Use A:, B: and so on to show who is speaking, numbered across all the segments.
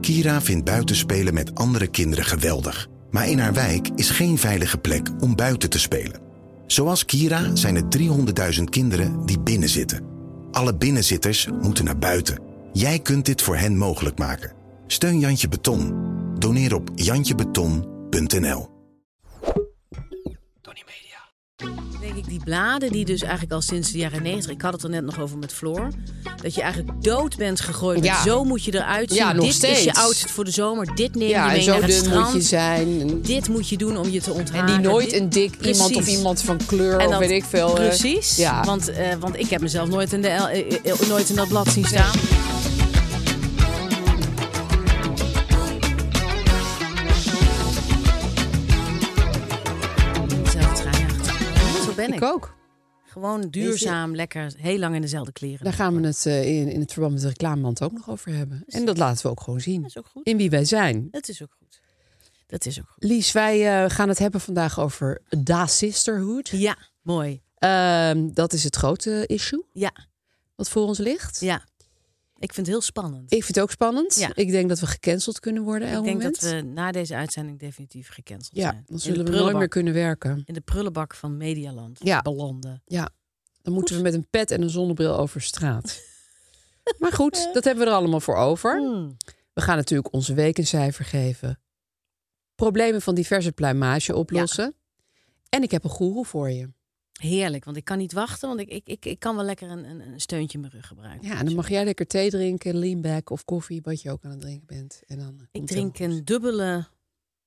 A: Kira vindt buitenspelen met andere kinderen geweldig. Maar in haar wijk is geen veilige plek om buiten te spelen. Zoals Kira zijn er 300.000 kinderen die binnenzitten. Alle binnenzitters moeten naar buiten. Jij kunt dit voor hen mogelijk maken. Steun Jantje Beton. Doneer op jantjebeton.nl.
B: denk ik, die bladen die dus eigenlijk al sinds de jaren 90, ik had het er net nog over met Floor, dat je eigenlijk dood bent gegooid.
C: Ja.
B: Met, zo moet je eruit zien.
C: Ja, nog
B: dit is je
C: steeds.
B: outfit voor de zomer. Dit neem
C: Ja,
B: je
C: en
B: mee
C: zo
B: naar het
C: dun
B: strand.
C: moet je zijn. En,
B: Dit moet je doen om je te
C: en
B: onthaken.
C: die nooit
B: Dit-
C: een dik iemand of
B: Precies.
C: iemand van kleur
B: En
C: of
B: dat-
C: weet ik veel. eh,
B: Precies.
C: Ja.
B: Want, eh, want ik heb mezelf nooit in, de, L- eh, eh, nooit in dat blad zien staan. Zelfde trui achter. Zo ben
C: ik ook.
B: Gewoon duurzaam, lekker, heel lang in dezelfde kleren.
C: Daar gaan we het eh, in, in het verband met de reclamemand ook nog over hebben. En dat laten we ook gewoon zien.
B: is ook goed.
C: In wie wij zijn.
B: Dat is ook goed. Dat is ook goed.
C: Lies, wij eh, gaan het hebben vandaag over Da Sisterhood.
B: Ja, mooi.
C: Ehm, dat is het grote issue
B: Ja,
C: wat voor ons ligt.
B: ja. Ik vind het heel spannend.
C: Ik vind het ook spannend.
B: Ja.
C: Ik denk dat we gecanceld kunnen worden elk
B: Ik denk
C: moment.
B: dat we na deze uitzending definitief gecanceld zijn.
C: Ja,
B: In
C: dan
B: de
C: zullen we nooit
B: prullenbak.
C: meer kunnen werken.
B: In de prullenbak van Medialand
C: Ja.
B: belanden.
C: Ja, dan moeten we met een pet en een zonnebril over straat. maar goed, dat hebben we er allemaal voor over.
B: Mm.
C: We gaan natuurlijk onze week een cijfer geven. Problemen van diverse pluimage oplossen. En ik heb een goeroe voor je.
B: Heerlijk, want ik kan niet wachten, want ik, ik, ik, ik kan wel lekker een, een, een steuntje in mijn rug gebruiken.
C: Ja, en dan mag jij lekker thee drinken, leanback of koffie, wat je ook aan het drinken bent. En dan komt
B: ik
C: het
B: drink
C: helemaal
B: een dubbele
C: goed.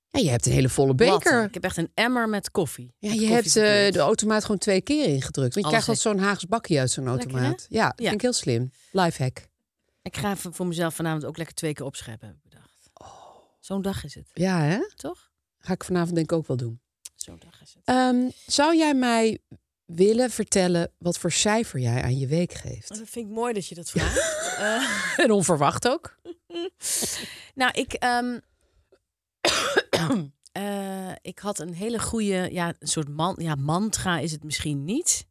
C: Ja, je hebt een hele volle beker.
B: latte. Ik heb echt een emmer met koffie.
C: Ja,
B: Met
C: je hebt eh,
B: koffieverkeerd.
C: de automaat gewoon twee keer ingedrukt. Want je
B: Alles
C: krijgt
B: weg.
C: altijd zo'n Haags bakje uit zo'n
B: Lekker, hè?
C: automaat. ja, dat
B: Ja.
C: vind ik heel slim. Lifehack.
B: Ik ga even voor mezelf vanavond ook lekker twee keer opscheppen, heb ik bedacht. Zo'n dag is het,
C: Ja, hè?
B: toch?
C: Ga ik vanavond denk ik ook wel doen.
B: Zo'n dag is het.
C: Ehm, zou jij mij willen vertellen wat voor cijfer jij aan je week geeft?
B: Dat vind ik mooi dat je dat vraagt. Eh,
C: En onverwacht ook.
B: nou, ik, ehm, eh, ik had een hele goede, ja, een soort man, ja, mantra is het misschien niet.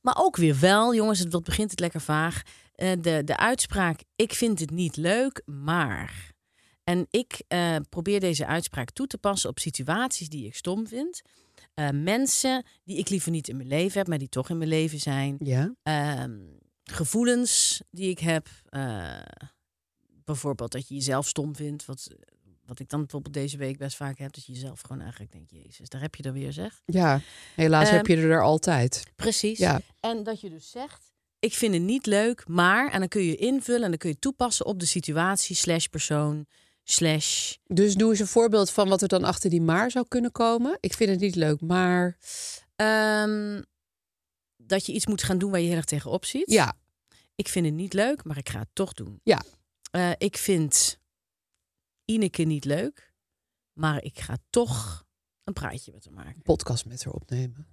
B: Maar ook weer wel, jongens, het, wat begint het lekker vaag. Eh, de, de uitspraak, ik vind het niet leuk, maar... En ik eh, probeer deze uitspraak toe te passen op situaties die ik stom vind. Eh, mensen die ik liever niet in mijn leven heb, maar die toch in mijn leven zijn.
C: Ja.
B: ehm, gevoelens die ik heb. eh, bijvoorbeeld dat je jezelf stom vindt. Wat, wat ik dan bijvoorbeeld deze week best vaak heb. Dat je jezelf gewoon eigenlijk denkt, jezus, daar heb je er weer zeg.
C: Ja, helaas
B: Ehm,
C: heb je er daar altijd.
B: Precies.
C: Ja.
B: En dat je dus zegt, ik vind het niet leuk, maar... En dan kun je invullen en dan kun je toepassen op de situatie slash persoon slash...
C: Dus doe eens een voorbeeld van wat er dan achter die maar zou kunnen komen. Ik vind het niet leuk, maar...
B: ehm, dat je iets moet gaan doen waar je heel erg tegenop ziet.
C: Ja,
B: Ik vind het niet leuk, maar ik ga het toch doen.
C: ja.
B: Eh, ik vind Ineke niet leuk, maar ik ga toch een praatje met haar maken.
C: Podcast met haar opnemen.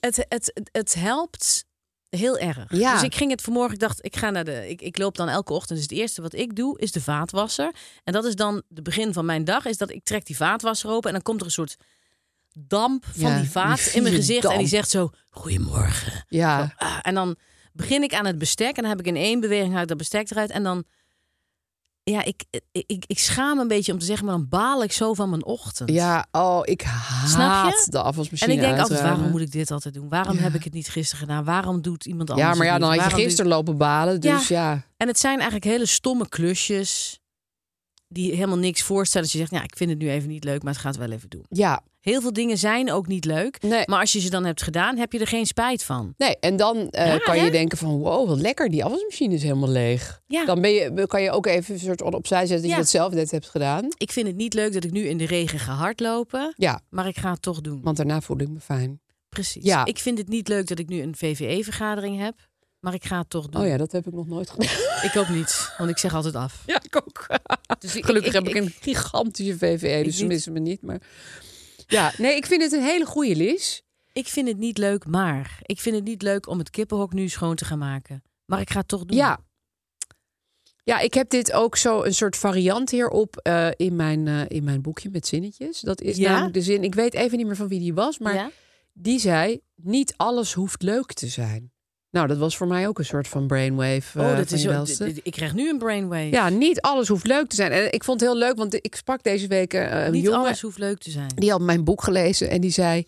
B: Het, het, het helpt heel erg.
C: Ja.
B: Dus ik ging het vanmorgen, ik dacht, ik ga naar de. Ik, ik loop dan elke ochtend. Dus het eerste wat ik doe, is de vaatwasser. En dat is dan het begin van mijn dag, is dat ik trek die vaatwasser open en dan komt er een soort damp van
C: Ja,
B: die vaat
C: die
B: in mijn
C: vieze
B: gezicht. En die
C: damp.
B: zegt zo: Goedemorgen.
C: Ja,
B: Ah, en dan begin ik aan het bestek. En dan heb ik in één beweging haal ik dat bestek eruit. En dan, ja, ik, ik, ik, ik schaam me een beetje om te zeggen, maar dan baal ik zo van mijn ochtend.
C: ja. Oh, ik
B: Snap je?
C: haat de
B: en
C: afwasmachine
B: ik denk altijd,
C: uitruimen.
B: waarom moet ik dit altijd doen? Waarom
C: Ja.
B: heb ik het niet gisteren gedaan? Waarom doet iemand anders
C: Ja, maar ja,
B: het
C: dan
B: niet?
C: had je
B: Waarom
C: gisteren lopen balen,
B: Ja.
C: dus ja.
B: doet- En het zijn eigenlijk hele stomme klusjes die helemaal niks voorstellen. Dat je zegt, ja, ik vind het nu even niet leuk, maar het gaat wel even doen.
C: Ja,
B: Heel veel dingen zijn ook niet leuk.
C: Nee.
B: Maar als je ze dan hebt gedaan, heb je er geen spijt van.
C: nee, en dan eh,
B: Raar,
C: kan je
B: hè?
C: denken van, wow, wat lekker, die afwasmachine is helemaal leeg.
B: Ja.
C: Dan ben je, kan je ook even een soort opzij zetten dat
B: Ja.
C: je dat zelf net hebt gedaan.
B: Ik vind het niet leuk dat ik nu in de regen ga hardlopen,
C: Ja,
B: maar ik ga het toch doen.
C: want daarna voelde ik me fijn.
B: Precies.
C: Ja.
B: Ik vind het niet leuk dat ik nu een VVE-vergadering heb, maar ik ga het toch doen.
C: Oh ja, dat heb ik nog nooit gedaan.
B: Ik ook niet, want ik zeg altijd af.
C: ja, ik ook.
B: Dus ik-
C: Gelukkig
B: ik-
C: heb ik, een gigantische VVE, dus ze
B: niet.
C: missen me niet. Maar ja, nee, ik vind het een hele goede Lies.
B: Ik vind het niet leuk, maar ik vind het niet leuk om het kippenhok nu schoon te gaan maken. Maar ik ga het toch doen.
C: Ja. Ja, ik heb dit ook zo een soort variant hierop eh, in, mijn, eh, in mijn boekje met zinnetjes. Dat is
B: Ja?
C: namelijk de zin, ik weet even niet meer van wie die was, maar
B: Ja?
C: die zei: Niet alles hoeft leuk te zijn. Nou, dat was voor mij ook een soort van brainwave. eh,
B: oh, dat
C: van
B: is zo,
C: je welste.
B: d- d- Ik krijg nu een brainwave.
C: Ja, niet alles hoeft leuk te zijn. En ik vond het heel leuk, want ik sprak deze week eh, een
B: niet
C: jongen
B: alles hoeft leuk te zijn.
C: die had mijn boek gelezen en die zei: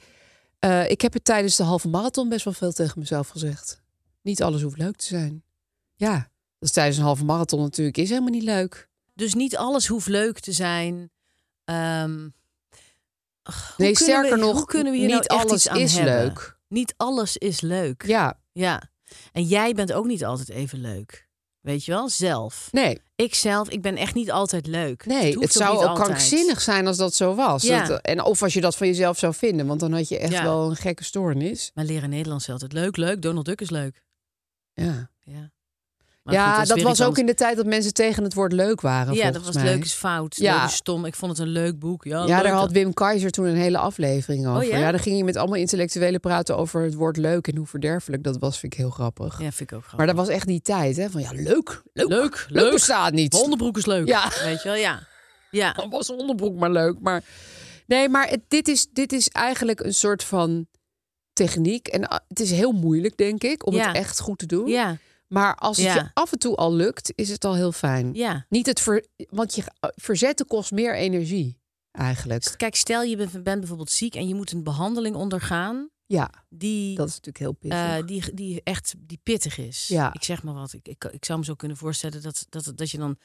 C: eh, Ik heb het tijdens de halve marathon best wel veel tegen mezelf gezegd. Niet alles hoeft leuk te zijn. Ja, dat is tijdens een halve marathon natuurlijk is helemaal niet leuk.
B: Dus niet alles hoeft leuk te zijn. Ehm, ach, hoe
C: Nee,
B: kunnen
C: sterker
B: we-
C: nog,
B: hoe kunnen we hier
C: niet
B: nou echt
C: alles
B: iets aan
C: is
B: hebben?
C: leuk.
B: Niet alles is leuk.
C: Ja,
B: Ja. En jij bent ook niet altijd even leuk. Weet je wel? Zelf.
C: nee,
B: Ik zelf, ik ben echt niet altijd leuk.
C: nee. Het,
B: hoeft
C: zou
B: niet
C: ook
B: altijd.
C: krankzinnig zijn als dat zo was.
B: Ja.
C: Dat- en of als je dat van jezelf zou vinden, want dan had je echt
B: Ja.
C: wel een gekke stoornis.
B: Maar leren Nederlands is altijd leuk, leuk. Donald Duck is leuk.
C: Ja,
B: Ja, Maar goed,
C: ja
B: is
C: dat
B: weer
C: was
B: iets
C: ook
B: anders.
C: in de tijd dat mensen tegen het woord leuk waren.
B: Ja, dat
C: volgens
B: was
C: mij.
B: leuk is fout.
C: Ja.
B: Ja. Leuk is stom. Ik vond het een leuk boek. Ja,
C: Ja,
B: leuk
C: daar
B: dat-
C: had Wim Keizer toen een hele aflevering over.
B: ja?
C: ja? daar ging je met allemaal intellectuelen praten over het woord leuk en hoe verderfelijk dat was. Vind ik heel grappig.
B: Ja, vind ik ook grappig.
C: Maar dat was echt die tijd, hè? Van ja, leuk, leuk,
B: Leuk,
C: leuk
B: leuk.
C: bestaat niet.
B: Mijn onderbroek is leuk.
C: Ja.
B: Weet je wel, ja. Ja,
C: Dan was onderbroek maar leuk. Maar nee, maar het- dit, is, dit is eigenlijk een soort van techniek. En ah, het is heel moeilijk, denk ik, om
B: Ja.
C: het echt goed te doen.
B: ja,
C: Maar als het
B: Ja.
C: je af en toe al lukt, is het al heel fijn.
B: ja.
C: Niet het ver, want je eh, verzetten kost meer energie, eigenlijk.
B: Kijk, stel je bent, bent bijvoorbeeld ziek en je moet een behandeling ondergaan
C: Ja,
B: die,
C: dat is natuurlijk heel pittig.
B: eh, die, die echt die pittig is.
C: Ja.
B: Ik zeg maar wat. Ik, ik, ik zou me zo kunnen voorstellen dat, dat, dat je dan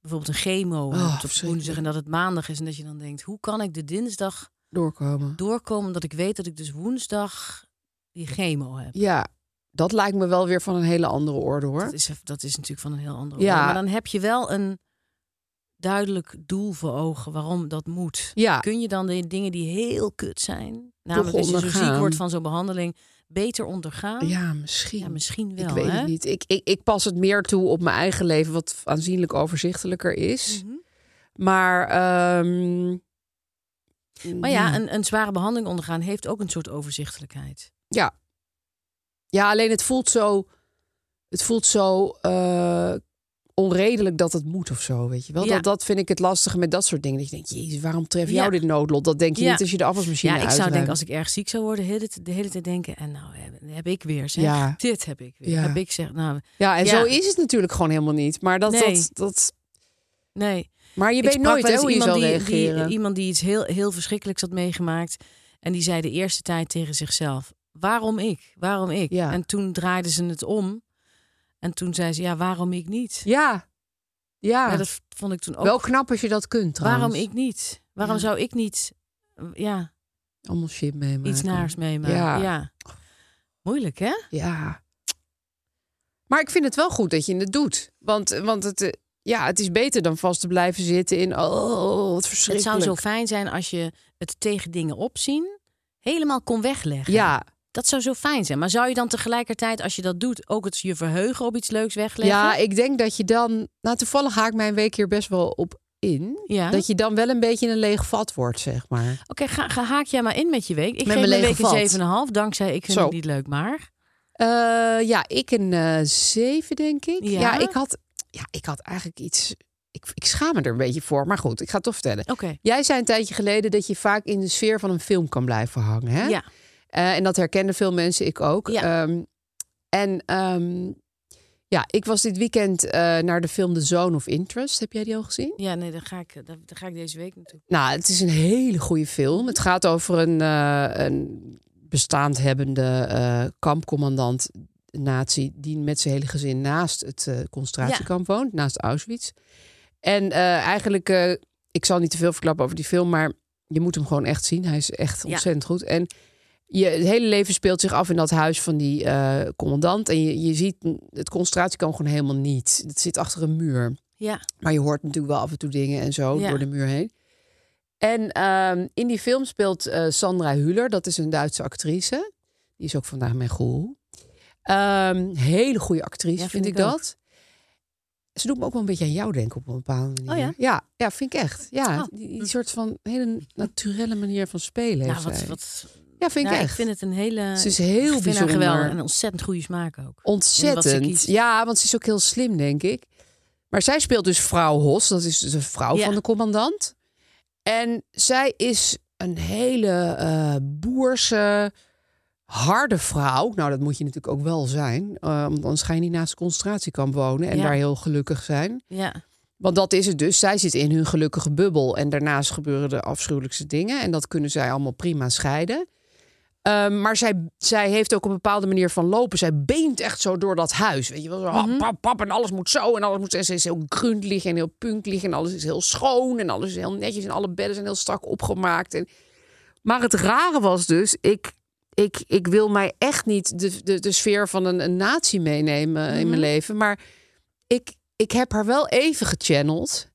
B: bijvoorbeeld een chemo
C: Oh,
B: hebt op woensdag
C: verschrikkelijk.
B: en dat het maandag is en dat je dan denkt, hoe kan ik de dinsdag
C: Doorkomen.
B: doorkomen omdat ik weet dat ik dus woensdag die chemo heb?
C: Ja, dat lijkt me wel weer van een hele andere orde hoor.
B: Dat is, dat is natuurlijk van een heel andere
C: Ja.
B: orde. Maar dan heb je wel een duidelijk doel voor ogen waarom dat moet.
C: Ja.
B: Kun je dan de dingen die heel kut zijn, namelijk als je zo ziek
C: ondergaan.
B: wordt van zo'n behandeling, beter ondergaan?
C: Ja, misschien.
B: Ja, misschien wel.
C: ik weet
B: hè?
C: het niet. Ik, ik, ik pas het meer toe op mijn eigen leven, wat aanzienlijk overzichtelijker is.
B: Mhm.
C: Maar, ehm, mm.
B: Maar ja, een, een zware behandeling ondergaan heeft ook een soort overzichtelijkheid.
C: ja. Ja, alleen het voelt zo, het voelt zo eh, onredelijk dat het moet of zo, weet je wel.
B: Ja.
C: Dat, dat vind ik het lastige met dat soort dingen. Dat je denkt, jezus, waarom treft jou
B: Ja.
C: dit noodlot? Dat denk je
B: Ja.
C: niet als je de afwasmachine
B: ja, ik zou
C: uitruimt.
B: denken, als ik erg ziek zou worden, de hele, t- de hele tijd denken, en nou heb, heb ik weer, zeg.
C: Ja.
B: Dit heb ik weer.
C: Ja.
B: Heb ik, zeg. Nou,
C: Ja, en
B: Ja.
C: zo is het natuurlijk gewoon helemaal niet. Maar dat,
B: Nee.
C: dat, dat
B: nee.
C: Maar je
B: Ik
C: weet
B: sprak
C: nooit
B: wel
C: hè,
B: eens
C: hoe je
B: iemand
C: zal
B: die,
C: reageren.
B: Die, iemand die iets heel, heel verschrikkelijks had meegemaakt. En die zei de eerste tijd tegen zichzelf: Waarom ik? Waarom ik?
C: Ja.
B: En toen draaiden ze het om. En toen zei ze: Ja, waarom ik niet?
C: ja, ja.
B: Ja, dat vond ik toen ook.
C: wel knap als je dat kunt trouwens.
B: waarom ik niet? Waarom
C: Ja.
B: zou ik niet eh, ja,
C: Allemaal shit meemaken.
B: iets naars meemaken?
C: Ja.
B: Ja. Moeilijk, hè?
C: Ja. Maar ik vind het wel goed dat je het doet. Want, want het, eh, ja, het is beter dan vast te blijven zitten in... Oh, wat
B: Het
C: verschrikkelijk.
B: zou zo fijn zijn als je het tegen dingen opzien helemaal kon wegleggen.
C: Ja,
B: Dat zou zo fijn zijn. Maar zou je dan tegelijkertijd, als je dat doet, ook het je verheugen op iets leuks wegleggen?
C: ja, ik denk dat je dan... Nou, toevallig haak ik mijn week hier best wel op in.
B: Ja.
C: Dat je dan wel een beetje een leeg vat wordt, zeg maar.
B: Oké, ga, ga haak jij maar in met je week. Ik
C: Met
B: geef
C: mijn
B: mijn
C: lege
B: week
C: vat.
B: een 7,5. Dankzij ik vind
C: Zo.
B: het niet leuk, maar...
C: Eh, ja, ik een eh zeven, denk ik. Ja,
B: Ja?
C: ik, had, ja ik had eigenlijk iets... Ik, ik schaam me er een beetje voor, maar goed, ik ga het toch vertellen.
B: Oké,
C: Jij zei een tijdje geleden dat je vaak in de sfeer van een film kan blijven hangen. Hè?
B: ja.
C: Eh, en dat herkennen veel mensen, ik ook.
B: Ja.
C: Ehm, en ehm, ja, ik was dit weekend eh, naar de film The Zone of Interest. Heb jij die al gezien?
B: Ja, nee, daar ga, ik, daar, daar ga ik deze week naartoe.
C: Nou, het is een hele goede film. Het gaat over een, eh, een bestaand hebbende eh, kampcommandant nazi die met zijn hele gezin naast het eh, concentratiekamp woont, naast Auschwitz. En eh, eigenlijk, eh, ik zal niet te veel verklappen over die film, maar je moet hem gewoon echt zien. Hij is echt
B: Ja.
C: ontzettend goed. En je, het hele leven speelt zich af in dat huis van die eh, commandant. En je, je ziet het concentratiekamp gewoon helemaal niet. Het zit achter een muur.
B: Ja,
C: Maar je hoort natuurlijk wel af en toe dingen en zo
B: Ja.
C: door de muur heen. En ehm, in die film speelt eh, Sandra Hüller, dat is een Duitse actrice. Die is ook vandaag mijn goel. Ehm, hele goede actrice,
B: Ja,
C: vind,
B: vind
C: ik
B: ik ook.
C: dat. Ze doet me ook wel een beetje aan jou denken op een bepaalde manier.
B: Oh, ja?
C: Ja, ja, vind ik echt. Ja,
B: Oh.
C: die, die soort van hele naturele manier van spelen
B: Nou,
C: heeft
B: wat,
C: zij.
B: wat,
C: ja, vind
B: nou,
C: ik
B: ik
C: echt.
B: vind het een hele...
C: Ze is heel
B: ik vind haar
C: bijzonder.
B: geweldig en een ontzettend goede smaak ook. in wat ze
C: Ontzettend.
B: kiest.
C: Ja, want ze is ook heel slim, denk ik. Maar zij speelt dus vrouw Hos. Dat is dus een vrouw
B: Ja.
C: van de commandant. En zij is een hele eh, boerse, harde vrouw. Nou, dat moet je natuurlijk ook wel zijn. eh, want anders ga je niet naast een concentratiekamp wonen... en
B: Ja.
C: daar heel gelukkig zijn.
B: Ja,
C: Want dat is het dus. Zij zit in hun gelukkige bubbel. En daarnaast gebeuren de afschuwelijkste dingen. En dat kunnen zij allemaal prima scheiden. Ehm, maar zij, zij heeft ook een bepaalde manier van lopen. Zij beent echt zo door dat huis. Weet je wel, zo, hap, hap, hap, en alles moet zo. En alles moet. En ze is heel gruntelig en heel puntelig. En alles is heel schoon. En alles is heel netjes. En alle bedden zijn heel strak opgemaakt. En... Maar het rare was dus, ik, ik, ik wil mij echt niet de, de, de sfeer van een, een natie meenemen in mijn leven. Maar ik, ik heb haar wel even gechanneld.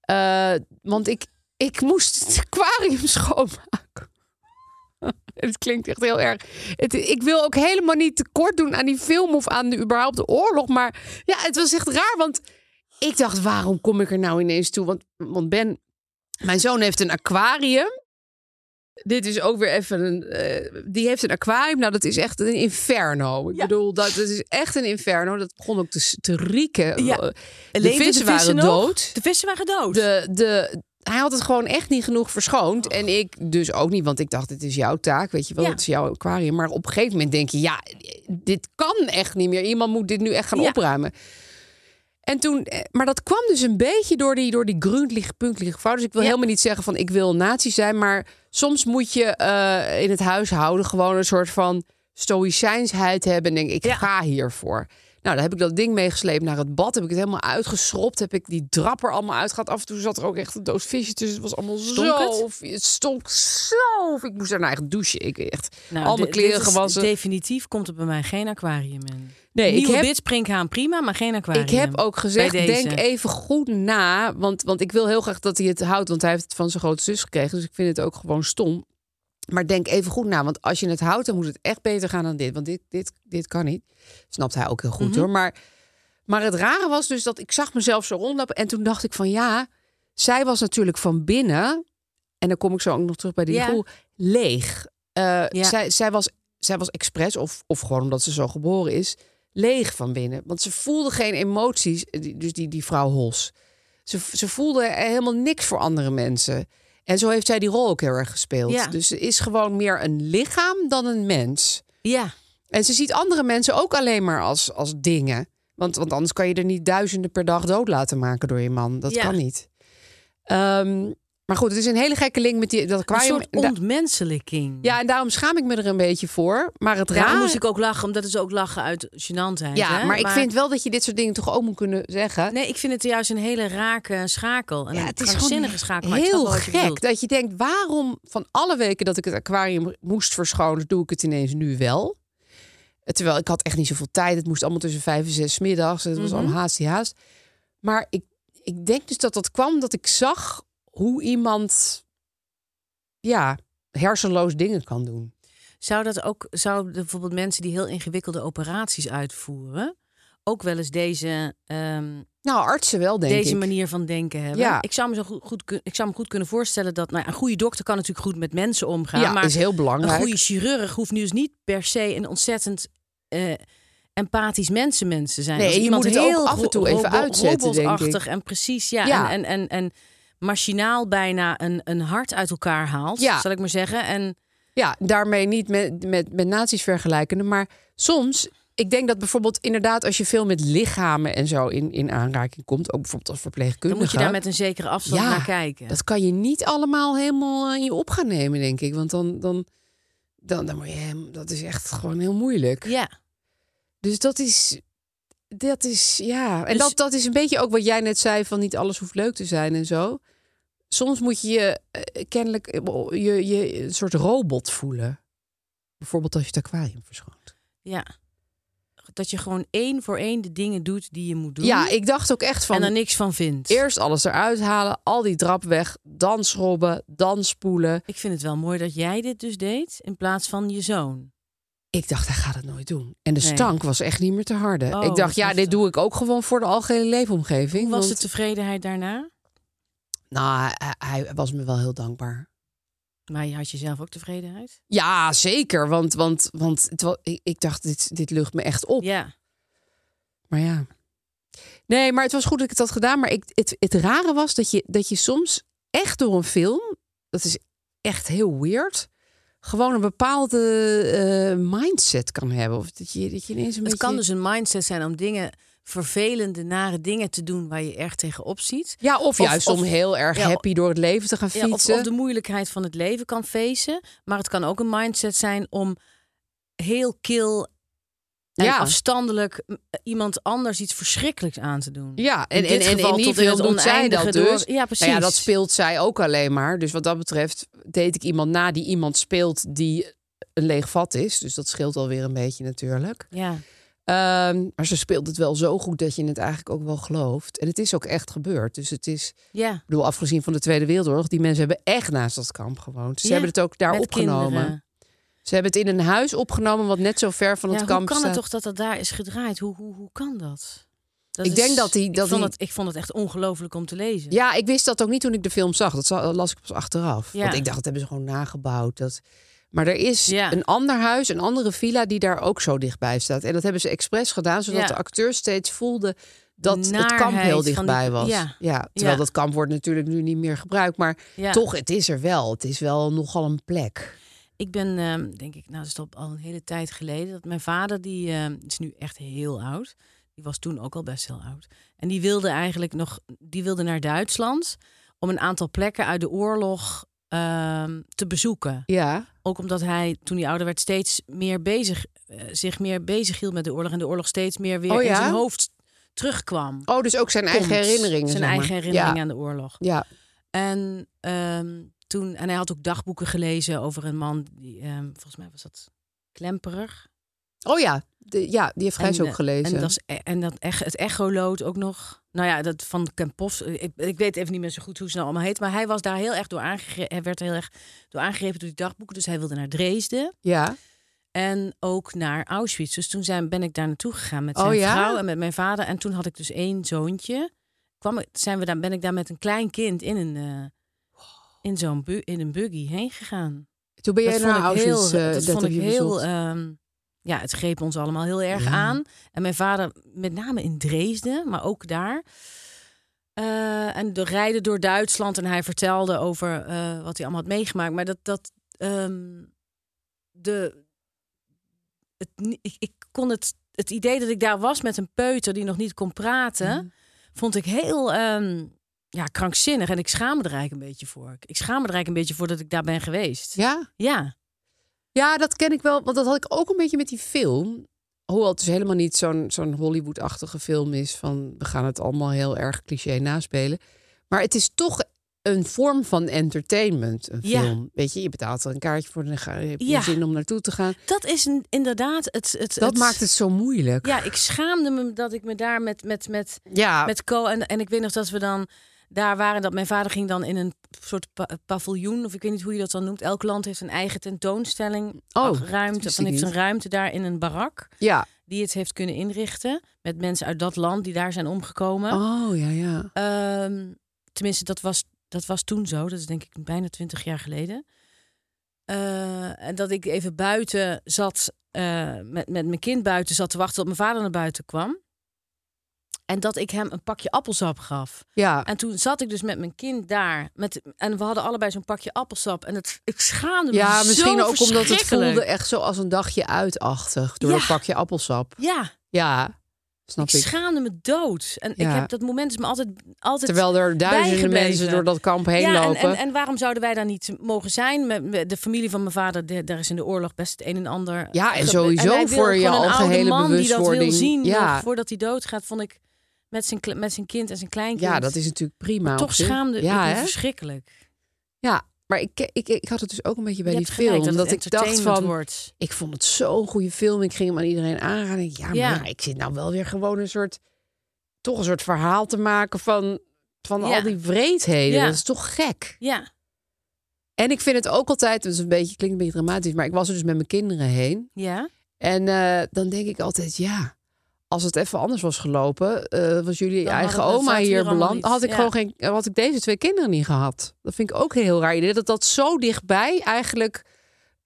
C: Eh, want ik, ik moest het aquarium schoonmaken. Het klinkt echt heel erg. Het, ik wil ook helemaal niet tekort doen aan die film of aan de, überhaupt de oorlog. Maar ja, het was echt raar. Want ik dacht, waarom kom ik er nou ineens toe? Want, want Ben, mijn zoon heeft een aquarium. Dit is ook weer even een. eh, die heeft een aquarium. Nou, dat is echt een inferno. Ik bedoel, dat, dat is echt een inferno. Dat begon ook te, s- te rieken. Eh,
B: Ja.
C: De
B: Leven de
C: vissen waren
B: vissen nog?
C: dood.
B: de vissen waren dood.
C: De, de, hij had het gewoon echt niet genoeg verschoond. En ik dus ook niet, want ik dacht, dit is jouw taak. Weet je wel,
B: Ja.
C: het is jouw aquarium. Maar op een gegeven moment denk je, ja, dit kan echt niet meer. Iemand moet dit nu echt gaan
B: Ja.
C: opruimen. En toen, eh, maar dat kwam dus een beetje door die, door die gruntelig, punktelig fout. Dus ik wil
B: Ja.
C: helemaal niet zeggen van ik wil nazi zijn. Maar soms moet je eh, in het huishouden gewoon een soort van stoïcijnsheid hebben. En denk ik
B: Ja.
C: ga hiervoor. Nou, daar heb ik dat ding meegesleept naar het bad. Heb ik het helemaal uitgeschropt. Heb ik die drapper allemaal uitgehaald. Af en toe zat er ook echt een doos visje tussen. Het was allemaal
B: Stonk
C: zo...
B: het?
C: of- Het stonk zo... of Ik moest daarna echt douchen. Ik echt
B: Nou,
C: al
B: di-
C: mijn
B: dit
C: kleren
B: is-
C: gewassen.
B: Definitief komt er bij mij geen aquarium in.
C: Nee, ik
B: Nieuwe
C: heb-
B: bitsprinkhaan prima, maar geen aquarium.
C: Ik heb ook gezegd,
B: Bij deze.
C: denk even goed na. Want, want ik wil heel graag dat hij het houdt. Want hij heeft het van zijn grote zus gekregen. Dus ik vind het ook gewoon stom. Maar denk even goed na. Want als je het houdt, dan moet het echt beter gaan dan dit. Want dit, dit, dit kan niet. Snapt hij ook heel goed
B: Mhm.
C: hoor. Maar, maar het rare was dus dat ik zag mezelf zo rondlopen. En toen dacht ik van ja, zij was natuurlijk van binnen. En dan kom ik zo ook nog terug bij die
B: Ja.
C: groep. Leeg. Eh,
B: Ja.
C: zij, zij, was, zij was expres, of, of gewoon omdat ze zo geboren is, leeg van binnen. Want ze voelde geen emoties, eh, die- dus die, die vrouw Hos. Ze, ze voelde eh, helemaal niks voor andere mensen. En zo heeft zij die rol ook heel erg gespeeld.
B: Ja.
C: Dus ze is gewoon meer een lichaam dan een mens.
B: Ja,
C: En ze ziet andere mensen ook alleen maar als, als dingen. Want, want anders kan je er niet duizenden per dag dood laten maken door je man. Dat
B: Ja.
C: kan niet. Ehm, maar goed, het is een hele gekke link met die, dat
B: een
C: aquarium.
B: soort
C: En da-
B: ontmenselijking.
C: ja, en daarom schaam ik me er een beetje voor. Maar het raar...
B: Daarom moest ik ook lachen, omdat het is ook lachen uit gênantheid.
C: ja,
B: hè?
C: maar ik vind wel dat je dit soort dingen toch ook moet kunnen zeggen.
B: Nee, ik vind het juist een hele rake schakel. En
C: ja,
B: een
C: het is
B: krankzinnige
C: gewoon
B: schakel. maar ik snap
C: heel
B: wel wat je
C: gek
B: bedoelt.
C: dat je denkt... waarom van alle weken dat ik het aquarium moest verschonen... doe ik het ineens nu wel? Terwijl ik had echt niet zoveel tijd. Het moest allemaal tussen vijf en zes 's middags. Het
B: Mhm.
C: was allemaal haast die haast. Maar ik, ik denk dus dat dat kwam dat ik zag hoe iemand ja, hersenloos dingen kan doen.
B: Zou dat ook, zouden bijvoorbeeld mensen die heel ingewikkelde operaties uitvoeren, ook wel eens deze, ehm,
C: Nou, artsen wel, denk
B: deze
C: ik.
B: manier van denken hebben?
C: Ja.
B: Ik, zou me zo goed, goed kun- ik zou me goed kunnen voorstellen dat nou ja, een goede dokter kan natuurlijk goed met mensen omgaan.
C: ja,
B: maar
C: is heel
B: een
C: belangrijk.
B: goede chirurg hoeft nu dus niet per se een ontzettend eh, empathisch mensenmens te zijn.
C: Nee,
B: Als
C: en je
B: iemand
C: moet het ook
B: heel
C: af en toe even uitzetten, denk ik.
B: robotachtig en precies, ja,
C: Ja.
B: En, en, en, en machinaal bijna een, een hart uit elkaar haalt,
C: Ja.
B: zal ik maar zeggen. En
C: Ja, daarmee niet met, met, met nazi's vergelijkende. Maar soms, ik denk dat bijvoorbeeld inderdaad... als je veel met lichamen en zo in, in aanraking komt... ook bijvoorbeeld als verpleegkundige...
B: dan moet je daar met een zekere afstand
C: Ja,
B: naar kijken.
C: Dat kan je niet allemaal helemaal eh, in je op gaan nemen, denk ik. Want dan, dan, dan, dan moet je... hem- Dat is echt gewoon heel moeilijk.
B: Ja,
C: Dus dat is... Dat is, ja. En
B: Dus-
C: dat, dat is een beetje ook wat jij net zei... van niet alles hoeft leuk te zijn en zo. Soms moet je je eh, kennelijk... eh, Je, je een soort robot voelen. Bijvoorbeeld als je het aquarium verschoont.
B: ja. Dat je gewoon één voor één de dingen doet die je moet doen.
C: Ja, ik dacht ook echt
B: en
C: van...
B: er niks van vindt.
C: Eerst alles eruit halen, al die drap weg, dan schrobben, dan spoelen.
B: Ik vind het wel mooi dat jij dit dus deed in plaats van je zoon.
C: Ik dacht, hij gaat het nooit doen. En de
B: Nee.
C: stank was echt niet meer te harden.
B: Oh,
C: ik dacht, ja,
B: heftig.
C: dit doe ik ook gewoon voor de algehele leefomgeving.
B: Hoe was
C: want-
B: de tevredenheid daarna?
C: Nou, hij, hij was me wel heel dankbaar.
B: Maar je had jezelf ook tevredenheid?
C: Ja, zeker. Want, want, want het wa- ik, ik dacht, dit, dit lucht me echt op.
B: Ja.
C: Maar ja. Nee, maar het was goed dat ik het had gedaan. Maar ik, het, het rare was dat je, dat je soms echt door een film... Dat is echt heel weird. Gewoon een bepaalde eh, mindset kan hebben. Of dat je, dat je ineens een
B: Het
C: beetje...
B: kan dus een mindset zijn om dingen, vervelende, nare dingen te doen waar je erg tegenop ziet.
C: Ja, of juist
B: of-
C: om heel erg
B: ja,
C: happy door het leven te gaan
B: Ja, of,
C: fietsen.
B: of de moeilijkheid van het leven kan feesten. Maar het kan ook een mindset zijn om heel kil en
C: Ja.
B: afstandelijk m- iemand anders iets verschrikkelijks aan te doen.
C: Ja, en,
B: dit
C: en, en
B: geval
C: in die
B: tot in
C: film
B: het
C: doet zij dat
B: oneindige door.
C: dus.
B: Ja,
C: Nou ja,
B: precies.
C: dat speelt zij ook alleen maar. Dus wat dat betreft deed ik iemand na die iemand speelt die een leeg vat is. Dus dat scheelt alweer een beetje natuurlijk.
B: Ja.
C: Ehm, maar ze speelt het wel zo goed dat je het eigenlijk ook wel gelooft. En het is ook echt gebeurd. Dus het is, ik
B: ja.
C: bedoel, afgezien van de Tweede Wereldoorlog... die mensen hebben echt naast dat kamp gewoond. Ze
B: Ja,
C: hebben het ook daar
B: met
C: opgenomen.
B: kinderen.
C: Ze hebben het in een huis opgenomen wat net zo ver van
B: Ja,
C: het
B: hoe
C: kamp
B: kan
C: staat.
B: het toch dat dat daar is gedraaid? Hoe, hoe, hoe kan dat? dat
C: Ik denk dat die- dat
B: ik, vond
C: die-
B: het, ik vond het echt ongelooflijk om te lezen.
C: Ja, ik wist dat ook niet toen ik de film zag. Dat za- las ik pas achteraf.
B: Ja.
C: Want ik dacht, dat hebben ze gewoon nagebouwd. Dat... Maar er is
B: Ja.
C: een ander huis, een andere villa die daar ook zo dichtbij staat. En dat hebben ze expres gedaan, zodat
B: Ja.
C: de acteurs steeds voelden dat het
B: Naarheid
C: kamp heel
B: van die-
C: dichtbij was.
B: ja.
C: terwijl
B: Ja.
C: dat kamp wordt natuurlijk nu niet meer gebruikt. Maar
B: Ja.
C: toch, het is er wel. Het is wel nogal een plek.
B: Ik ben, ehm, denk ik, nou, dat is al- al een hele tijd geleden. Dat mijn vader, die ehm, is nu echt heel oud. Die was toen ook al best heel oud. En die wilde eigenlijk nog, die wilde naar Duitsland om een aantal plekken uit de oorlog ehm, te bezoeken.
C: Ja,
B: Ook omdat hij, toen hij ouder werd, steeds meer bezig, eh, zich meer bezig hield met de oorlog. En de oorlog steeds meer weer
C: Oh
B: in
C: ja?
B: zijn hoofd terugkwam.
C: Oh, dus ook zijn eigen
B: Komt.
C: herinneringen.
B: Zijn
C: zeg maar.
B: eigen herinneringen
C: Ja.
B: aan de oorlog.
C: ja.
B: En, ehm, toen, en hij had ook dagboeken gelezen over een man, die, ehm, volgens mij was dat Klemperer.
C: Oh ja. De, ja, die heeft Gijs
B: En,
C: ook
B: eh,
C: gelezen.
B: En dat, is, e- en dat ech- het echolood ook nog. Nou ja, dat van Kempos. Ik, ik weet even niet meer zo goed hoe ze nou allemaal heet. Maar hij was daar heel erg door aangegrepen. Hij werd er heel erg door aangegrepen door die dagboeken. Dus hij wilde naar Dresden.
C: Ja.
B: En ook naar Auschwitz. Dus toen zijn, ben ik daar naartoe gegaan met
C: Oh
B: zijn
C: ja?
B: vrouw en met mijn vader. En toen had ik dus één zoontje. Kwam, ik- zijn we daar, ben ik daar met een klein kind in een, eh, in zo'n bu- in een buggy heen gegaan.
C: Toen ben jij
B: dat vond
C: naar
B: ik
C: Auschwitz.
B: heel,
C: eh,
B: dat
C: dat
B: vond
C: heb
B: ik
C: je
B: heel
C: bezocht.
B: ehm, ja, het greep ons allemaal heel erg
C: Ja.
B: aan. En mijn vader, met name in Dresden, maar ook daar. Eh, en de rijden door Duitsland. En hij vertelde over eh, wat hij allemaal had meegemaakt. Maar dat, dat ehm, de, het, ni- ik, ik kon het, het idee dat ik daar was met een peuter die nog niet kon praten,
C: Mhm.
B: vond ik heel ehm, ja, krankzinnig. En ik schaamde er eigenlijk een beetje voor. Ik- Ik schaamde er eigenlijk een beetje voor dat ik daar ben geweest.
C: Ja?
B: Ja,
C: Ja, dat ken ik wel. Want dat had ik ook een beetje met die film. Hoewel het dus helemaal niet zo'n zo'n Hollywood-achtige film is. Van we gaan het allemaal heel erg cliché naspelen. Maar het is toch een vorm van entertainment. Een
B: Ja.
C: film. Weet je, je betaalt er een kaartje voor. Dan ga, heb je
B: Ja.
C: zin om naartoe te gaan.
B: dat is een- inderdaad het. het
C: Dat maakt het zo moeilijk.
B: Ja, ik schaamde me dat ik me daar met, met, met,
C: Ja,
B: met Co. En, en ik weet nog dat we dan daar waren. Dat mijn vader ging dan in een soort pa- paviljoen. Of ik weet niet hoe je dat dan noemt. Elk land heeft een eigen tentoonstelling.
C: Oh,
B: ach,
C: dat
B: ruimte.
C: wist
B: Van
C: ik
B: heeft een
C: niet.
B: ruimte daar in een barak.
C: ja.
B: Die het heeft kunnen inrichten. Met mensen uit dat land die daar zijn omgekomen.
C: Oh, ja, ja.
B: Ehm, tenminste, dat was, dat was toen zo. Dat is denk ik bijna twintig jaar geleden. Eh, en dat ik even buiten zat, eh, met, met mijn kind buiten zat te wachten tot mijn vader naar buiten kwam. En dat ik hem een pakje appelsap gaf.
C: Ja,
B: En toen zat ik dus met mijn kind daar. Met, en we hadden allebei zo'n pakje appelsap. En het, ik schaamde me
C: ja
B: zo
C: misschien ook omdat het
B: verschrikkelijk.
C: voelde echt zo als een dagje uitachtig. Door
B: Ja.
C: een pakje appelsap.
B: Ja,
C: Ja, snap
B: ik
C: ik.
B: schaamde me dood. En ik
C: Ja.
B: heb, dat moment is me altijd, altijd
C: Terwijl er duizenden
B: bijgebleven.
C: mensen door dat kamp heen
B: ja, en-
C: lopen.
B: En, en, waarom zouden wij daar niet mogen zijn? Met- met De familie van mijn vader, de- daar is in de oorlog best het een en ander.
C: Ja, en
B: gebe-
C: sowieso
B: wij wilden
C: voor je
B: gewoon een oude
C: algehele
B: man die dat wil
C: bewustwording.
B: zien
C: Ja.
B: nog voordat hij doodgaat, vond ik met zijn, kle- met zijn kind en zijn kleinkind.
C: Ja, dat is natuurlijk prima. op
B: toch
C: zich.
B: schaamde
C: ja,
B: ik me
C: hè?
B: verschrikkelijk.
C: Ja, maar ik, ik, ik had het dus ook een beetje bij
B: Je
C: die
B: hebt gelijk
C: film.
B: dat,
C: Dat,
B: het
C: ik dacht
B: entertainment
C: van,
B: wordt.
C: ik vond het zo'n goede film. Ik ging hem aan iedereen aanraden. Ik, Ja, maar
B: Ja.
C: ja, ik zit nou wel weer gewoon een soort... toch een soort verhaal te maken van, van
B: Ja.
C: al die wreedheden.
B: Ja.
C: Dat is toch gek?
B: Ja,
C: En ik vind het ook altijd... Het is een beetje, klinkt een beetje dramatisch, maar ik was er dus met mijn kinderen heen.
B: ja.
C: En eh, dan denk ik altijd, ja, als het even anders was gelopen, eh, was jullie
B: Dan
C: eigen
B: hadden we-
C: oma
B: zaten we
C: hier
B: er allemaal
C: beland,
B: niet,
C: had ik
B: ja.
C: gewoon geen, had ik deze twee kinderen niet gehad. Dat vind ik ook een heel raar idee dat dat zo dichtbij eigenlijk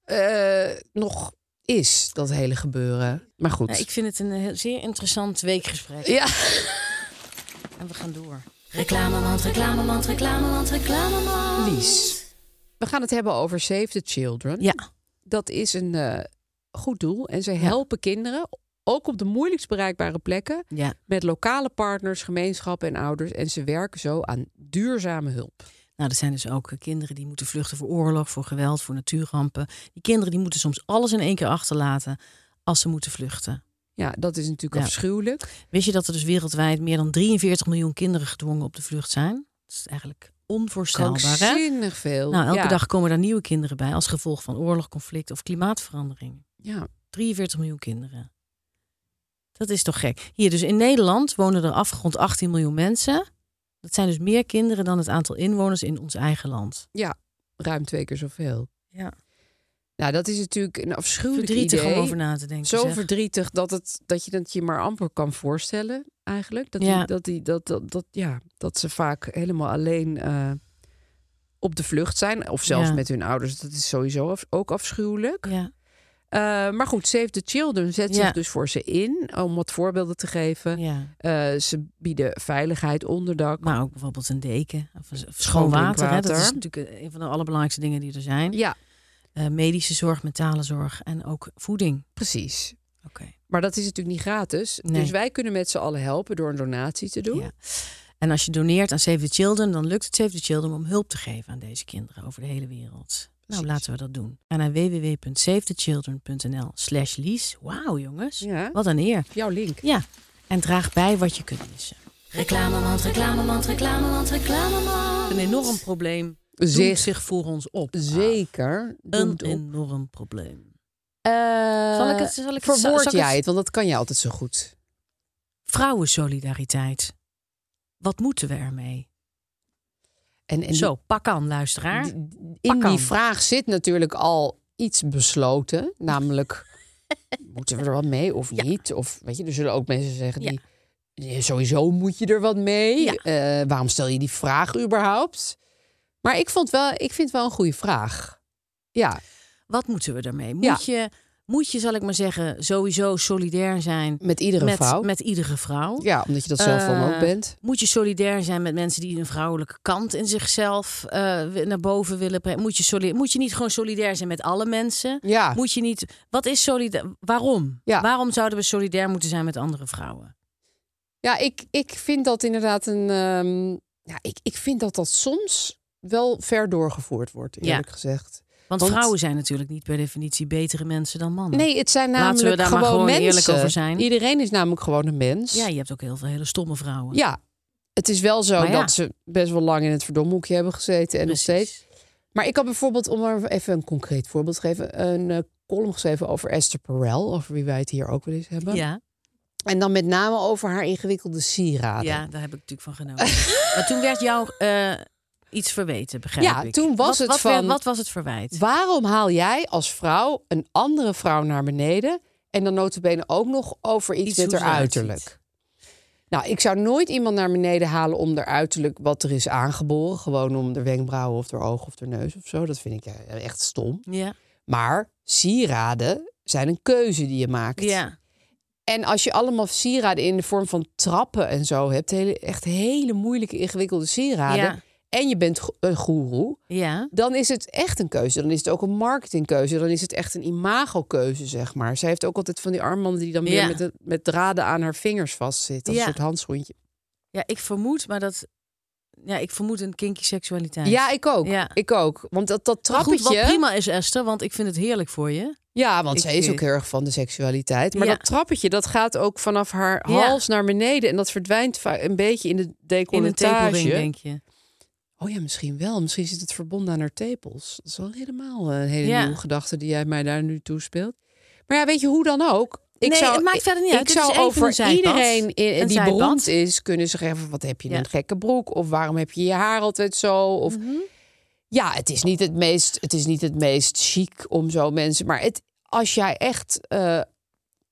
C: eh, nog is dat hele gebeuren. Maar goed.
B: Nou, ik vind het een heel, zeer interessant weekgesprek.
C: Ja.
B: En we gaan door.
C: Lies. We gaan het hebben over Save the Children.
B: Ja.
C: Dat is een eh, goed doel. En ze helpen kinderen, ook op de moeilijkst bereikbare plekken,
B: ja.
C: met lokale partners, gemeenschappen en ouders. En ze werken zo aan duurzame hulp.
B: Nou, er zijn dus ook eh, kinderen die moeten vluchten voor oorlog, voor geweld, voor natuurrampen. Die kinderen die moeten soms alles in één keer achterlaten als ze moeten vluchten.
C: Ja, dat is natuurlijk
B: Ja.
C: afschuwelijk.
B: Wist je dat er dus wereldwijd meer dan 43 miljoen kinderen gedwongen op de vlucht zijn? Dat is eigenlijk onvoorstelbaar, hè?
C: Krankzinnig veel.
B: Nou, elke
C: ja.
B: dag komen daar nieuwe kinderen bij als gevolg van oorlog, conflict of klimaatverandering.
C: Ja.
B: 43 miljoen kinderen. Dat is toch gek. Hier, dus in Nederland wonen er afgerond 18 miljoen mensen. Dat zijn dus meer kinderen dan het aantal inwoners in ons eigen land.
C: ja, ruim twee keer zoveel.
B: Ja.
C: Nou, dat is natuurlijk een afschuwelijk
B: Verdrietig
C: idee.
B: om over na te denken.
C: Zo
B: zeg.
C: verdrietig dat, het, dat je het je maar amper kan voorstellen, eigenlijk. Dat,
B: Ja.
C: die, dat, die, dat, dat, dat, ja, dat ze vaak helemaal alleen eh, op de vlucht zijn. Of zelfs
B: Ja.
C: met hun ouders. Dat is sowieso af- ook afschuwelijk.
B: Ja.
C: Eh, maar goed, Save the Children zet
B: Ja.
C: zich dus voor ze in. Om wat voorbeelden te geven.
B: ja.
C: Eh, ze bieden veiligheid, onderdak.
B: Maar ook bijvoorbeeld een deken of, of schoon
C: Schoon
B: water. Hè? Dat is
C: drinkwater.
B: natuurlijk eh, een van de allerbelangrijkste dingen die er zijn.
C: Ja,
B: Eh, medische zorg, mentale zorg en ook voeding.
C: precies.
B: Oké.
C: Maar dat is natuurlijk niet gratis.
B: Nee.
C: Dus wij kunnen met z'n allen helpen door een donatie te doen.
B: Ja. En als je doneert aan Save the Children, dan lukt het Save the Children om hulp te geven aan deze kinderen over de hele wereld. Nou,
C: Precies.
B: laten we dat doen. Ga naar www.savethechildren.nl slash Lies. Wauw, jongens.
C: Ja.
B: Wat een eer.
C: Jouw link.
B: Ja. En draag bij wat je kunt missen. Reclamemand, reclamemand, reclamemand, reclamemand. Een enorm probleem doet
C: Zich.
B: zich voor ons op.
C: Zeker.
B: Een
C: Doemt op.
B: enorm probleem.
C: Eh,
B: Zal ik het- zal ik het- zal-
C: verwoord
B: zal ik
C: jij
B: het-
C: het? Want dat kan je altijd zo goed.
B: Vrouwensolidariteit. Wat moeten we ermee?
C: En, en
B: Zo, pak aan, luisteraar.
C: die- die- in
B: Pak aan.
C: die vraag zit natuurlijk al iets besloten. Namelijk, moeten we er wat mee of
B: Ja.
C: niet? Of weet je, er zullen ook mensen zeggen
B: Ja.
C: die... "Ja, Sowieso moet je er wat mee.
B: Ja.
C: Eh, waarom stel je die vraag überhaupt? Maar ik, vond wel, ik vind het wel een goede vraag. Ja,
B: Wat moeten we daarmee?
C: Ja.
B: Moet, je, moet je, zal ik maar zeggen, sowieso solidair zijn
C: met iedere
B: met,
C: vrouw.
B: met iedere vrouw?
C: Ja, omdat je dat zelf dan
B: Eh,
C: ook bent.
B: Moet je solidair zijn met mensen die een vrouwelijke kant in zichzelf eh, wi- naar boven willen brengen? Moet je, soli- moet je niet gewoon solidair zijn met alle mensen?
C: Ja,
B: Moet je niet. Wat is solidair? Waarom?
C: Ja.
B: Waarom zouden we solidair moeten zijn met andere vrouwen?
C: Ja, ik, ik vind dat inderdaad een. ehm, ja, ik, ik vind dat dat soms wel ver doorgevoerd wordt,
B: Ja.
C: eerlijk gezegd.
B: Want,
C: Want-
B: vrouwen zijn natuurlijk niet per definitie betere mensen dan mannen.
C: Nee, het zijn
B: Laten we
C: namelijk
B: daar maar
C: gewoon,
B: gewoon
C: mensen.
B: eerlijk over zijn.
C: Iedereen is namelijk gewoon een mens.
B: Ja, je hebt ook heel veel hele stomme vrouwen.
C: Ja, het is wel zo
B: Maar ja.
C: dat ze best wel lang in het verdomhoekje hebben gezeten en nog steeds. Maar ik had bijvoorbeeld, om maar even een concreet voorbeeld te geven, een eh, column geschreven over Esther Perel, over wie wij het hier ook wel eens hebben.
B: Ja,
C: En dan met name over haar ingewikkelde sieraden.
B: ja, daar heb ik natuurlijk van genoten. maar toen werd jou eh, iets verweten, begrijp
C: Ja,
B: ik.
C: toen was
B: Wat-
C: het
B: wat werd-
C: van-
B: wat was het verwijt?
C: Waarom haal jij als vrouw een andere vrouw naar beneden en dan notabene ook nog over iets,
B: Iets
C: met
B: hoe
C: haar
B: ze
C: uiterlijk?
B: uitziet.
C: Nou, ik zou nooit iemand naar beneden halen om haar uiterlijk wat er is aangeboren. Gewoon om de wenkbrauwen of haar ogen of haar neus of zo. Dat vind ik ja, echt stom.
B: Ja,
C: Maar sieraden zijn een keuze die je maakt.
B: ja.
C: En als je allemaal sieraden in de vorm van trappen en zo hebt, hele, echt hele moeilijke, ingewikkelde sieraden.
B: Ja.
C: En je bent go- een goeroe
B: ja.
C: dan is het echt een keuze. Dan is het ook een marketingkeuze. Dan is het echt een imagokeuze, zeg maar. Zij heeft ook altijd van die armbanden die dan weer
B: Ja.
C: met, de- met draden aan haar vingers vastzitten. Als
B: Ja.
C: een soort handschoentje.
B: Ja, ik vermoed, maar dat... Ja, ik vermoed een kinky seksualiteit.
C: Ja, ik ook.
B: Ja.
C: Ik ook. Want dat, dat
B: Maar goed,
C: trappetje...
B: wat prima is, Esther, want ik vind het heerlijk voor je.
C: ja, want
B: Ik-
C: zij is ook heel erg van de seksualiteit. Maar
B: Ja.
C: dat trappetje, dat gaat ook vanaf haar
B: Ja.
C: hals naar beneden. En dat verdwijnt va- een beetje in de
B: In een
C: decolletage.
B: tepelring, denk je.
C: Oh ja, misschien wel. Misschien zit het verbonden aan haar tepels. Dat is wel helemaal eh, een hele
B: Ja.
C: nieuwe gedachte die jij mij daar nu toespeelt. Maar ja, weet je hoe dan ook? Ik
B: Nee,
C: zou,
B: het maakt verder niet
C: ik
B: uit. Dit
C: zou
B: is even
C: over
B: een zijpad.
C: iedereen i-
B: Een
C: die
B: zijpad.
C: beroemd is kunnen zeggen: wat heb je
B: Ja. Mhm.
C: een gekke broek? Of waarom heb je je haar altijd zo? Of ja, het is niet het meest, het is niet het meest chic om zo mensen. Maar het, als jij echt eh,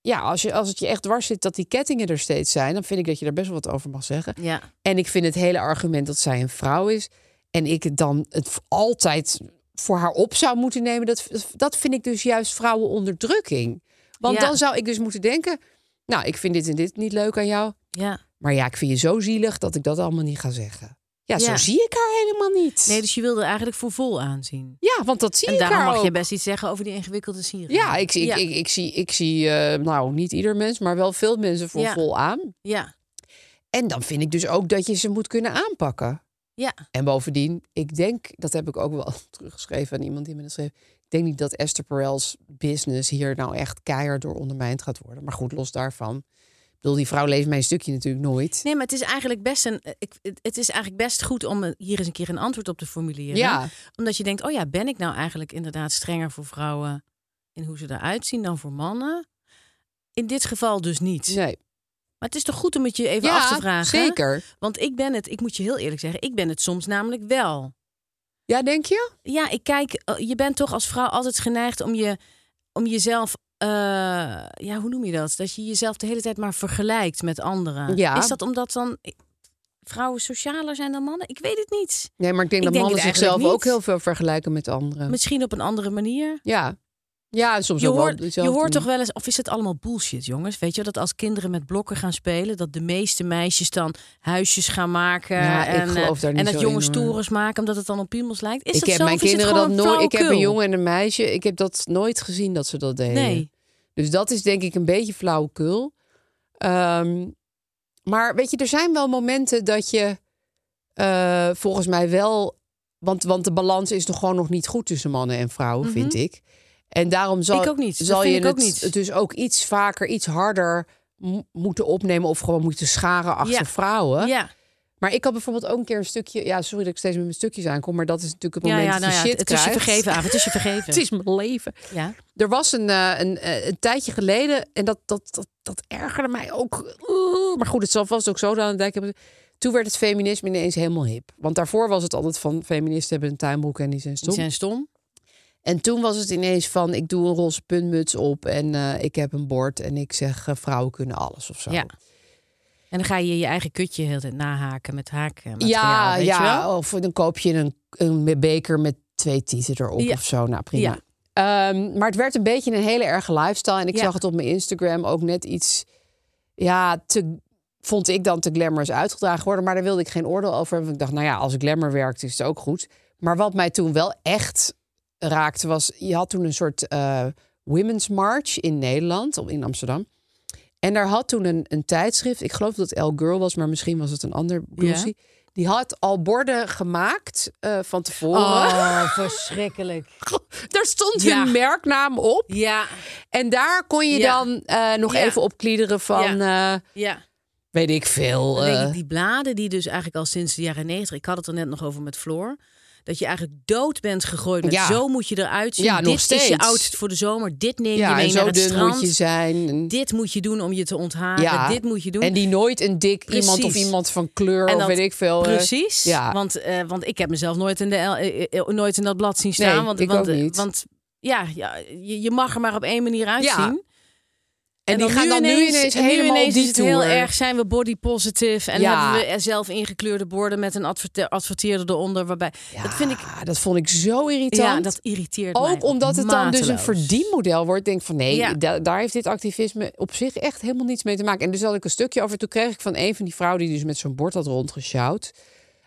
C: ja, als, je, als het je echt dwars zit dat die kettingen er steeds zijn, dan vind ik dat je daar best wel wat over mag zeggen.
B: Ja.
C: En ik vind het hele argument dat zij een vrouw is en ik het dan het v- altijd voor haar op zou moeten nemen, dat, dat vind ik dus juist vrouwenonderdrukking. Want
B: Ja.
C: dan zou ik dus moeten denken, nou, ik vind dit en dit niet leuk aan jou,
B: ja.
C: maar ja, ik vind je zo zielig dat ik dat allemaal niet ga zeggen. Ja, zo
B: Ja.
C: zie ik haar helemaal niet.
B: Nee, dus je wilde eigenlijk voor vol aanzien.
C: Ja, want dat zie
B: En
C: ik
B: daarom
C: haar
B: mag
C: ook.
B: je best iets zeggen over die ingewikkelde Syrië.
C: Ja, ik, ik,
B: ja.
C: Ik, ik zie, ik zie eh, nou, niet ieder mens, maar wel veel mensen voor
B: Ja.
C: vol aan.
B: Ja.
C: En dan vind ik dus ook dat je ze moet kunnen aanpakken.
B: Ja.
C: En bovendien, ik denk, dat heb ik ook wel teruggeschreven aan iemand die me dat schreef. Ik denk niet dat Esther Perel's business hier nou echt keihard door ondermijnd gaat worden. Maar goed, los daarvan. Ik bedoel, die vrouw leest mijn stukje natuurlijk nooit.
B: Nee, maar het is eigenlijk best een. eh, Ik, het- het is eigenlijk best goed om een- hier eens een keer een antwoord op te formuleren.
C: Ja.
B: Omdat je denkt, oh ja, ben ik nou eigenlijk inderdaad strenger voor vrouwen in hoe ze eruit zien dan voor mannen? In dit geval dus niet.
C: Nee.
B: Maar het is toch goed om het je even
C: ja,
B: af te vragen.
C: zeker.
B: Want ik ben het, ik moet je heel eerlijk zeggen, ik ben het soms namelijk wel.
C: Ja, denk je?
B: Ja, ik kijk, eh, je bent toch als vrouw altijd geneigd om, je, om jezelf. eh, ja, hoe noem je dat? Dat je jezelf de hele tijd maar vergelijkt met anderen.
C: Ja.
B: Is dat omdat dan eh, vrouwen socialer zijn dan mannen? Ik weet het niet.
C: Nee, maar ik denk
B: Ik
C: dat
B: denk
C: mannen
B: het eigenlijk
C: zichzelf ook
B: niet.
C: heel veel vergelijken met anderen.
B: Misschien op een andere manier.
C: Ja. Ja, en soms
B: Je
C: ook wel
B: hoort, je
C: hetzelfde.
B: hoort toch wel eens, of is het allemaal bullshit, jongens? Weet je, dat als kinderen met blokken gaan spelen, dat de meeste meisjes dan huisjes gaan maken.
C: Ja, ik
B: en eh,
C: geloof daar niet
B: en dat
C: zo
B: jongens
C: in, hoor.
B: torens maken omdat het dan op piemels lijkt. Is
C: ik
B: dat
C: heb
B: zo?
C: mijn
B: of is het
C: kinderen dat
B: gewoon
C: nooit. Ik heb een
B: flauwekul?
C: jongen en een meisje. Ik heb dat nooit gezien dat ze dat deden.
B: Nee.
C: Dus dat is denk ik een beetje flauwekul. Ehm, maar weet je, er zijn wel momenten dat je eh, volgens mij wel. Want, want de balans is nog gewoon nog niet goed tussen mannen en vrouwen, vind ik. En daarom zal,
B: Mhm. Ik ook niet. Dat
C: zal
B: vind
C: je
B: ik ook
C: het
B: niet.
C: dus ook iets vaker, iets harder mo- moeten opnemen of gewoon moeten scharen achter
B: Ja.
C: vrouwen.
B: Ja.
C: Maar ik had bijvoorbeeld ook een keer een stukje. Ja, sorry dat ik steeds met mijn stukjes aankom, maar dat is natuurlijk het moment dat je shit
B: nou het is je
C: krijgt.
B: vergeven, Aaf, het is je vergeven.
C: Het is mijn leven.
B: Ja.
C: Er was een, eh, een, eh, een tijdje geleden, en dat, dat, dat, dat ergerde mij ook. Oeh, maar goed, het zal vast ook zo aan de dijk hebben. Toen werd het feminisme ineens helemaal hip. Want daarvoor was het altijd van feministen hebben een tuinbroek en die zijn
B: Die
C: stom.
B: zijn stom.
C: En toen was het ineens van ik doe een roze puntmuts op en eh, ik heb een bord en ik zeg eh, vrouwen kunnen alles of zo.
B: Ja. En dan ga je je eigen kutje heel de tijd nahaken met haken.
C: Ja,
B: weet je wel?
C: ja of dan koop je een, een beker met twee tieten erop
B: Ja.
C: of zo. Nou, prima.
B: Ja.
C: Ehm, maar het werd een beetje een hele erge lifestyle. En ik
B: Ja.
C: zag het op mijn Instagram ook net iets... Ja, te, vond ik dan te glamorous uitgedragen worden. Maar daar wilde ik geen oordeel over hebben. Want ik dacht, nou ja, als ik glamour werkt, is het ook goed. Maar wat mij toen wel echt raakte was... Je had toen een soort eh, Women's March in Nederland, om- in Amsterdam. En daar had toen een, een tijdschrift... Ik geloof dat het Elle Girl was, maar misschien was het een ander glossy. Die had al borden gemaakt eh, van tevoren.
B: Oh, verschrikkelijk.
C: Daar stond
B: Ja.
C: hun merknaam op.
B: Ja,
C: En daar kon je
B: Ja.
C: dan eh, nog
B: Ja.
C: even op kliederen van, eh,
B: ja.
C: weet ik veel.
B: Dan denk
C: eh,
B: ik, die bladen die dus eigenlijk al sinds de jaren negentig... Ik had het er net nog over met Floor. Dat je eigenlijk dood bent gegooid met
C: Ja.
B: zo moet je eruit zien.
C: Ja,
B: dit
C: nog
B: is je
C: steeds.
B: outfit voor de zomer. Dit neem je
C: ja,
B: mee
C: en
B: naar
C: zo
B: het
C: dun
B: strand.
C: moet je zijn. En,
B: Dit moet je doen om je te ontharen.
C: ja.
B: Dit moet je doen.
C: En die nooit een dik iemand of
B: Precies.
C: iemand van kleur
B: En
C: of
B: dat-
C: weet ik veel. eh,
B: Precies.
C: ja.
B: Want, eh, want ik heb mezelf nooit in, de, L- eh, eh, nooit in dat blad zien staan.
C: Nee,
B: want,
C: ik
B: want,
C: ook niet.
B: Want ja, ja je, je mag er maar op één manier uitzien.
C: Ja. en, die gaan dan nu ineens
B: en nu
C: helemaal
B: ineens
C: die
B: is het heel
C: tour.
B: erg zijn we body positive en
C: Ja.
B: hebben we er zelf ingekleurde borden met een adverte- adverteerder eronder waarbij
C: Ja,
B: dat vind ik
C: dat vond ik zo irritant.
B: ja dat irriteert mij
C: ook omdat het dan dus een
B: mateloos.
C: verdienmodel wordt. Ik denk van nee,
B: Ja.
C: da- daar heeft dit activisme op zich echt helemaal niets mee te maken. En dus had ik een stukje over. Toen kreeg ik van een van die vrouwen die dus met zo'n bord had rondgesjouwd.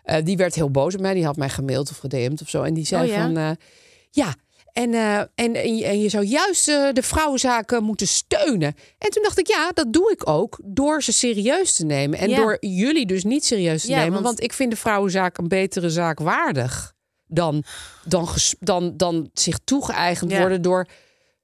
C: eh, die werd heel boos op mij. Die had mij gemaild of gedm'd of zo. En die zei
B: Oh ja?
C: van eh, ja. En, eh, en, en, je- en je zou juist eh, de vrouwenzaken moeten steunen. En toen dacht ik, ja, dat doe ik ook door ze serieus te nemen. En
B: Ja.
C: door jullie dus niet serieus te
B: Ja,
C: nemen.
B: want-
C: want ik vind de vrouwenzaak een betere zaak waardig dan, dan, ges- dan, dan zich toegeëigend
B: Ja.
C: worden door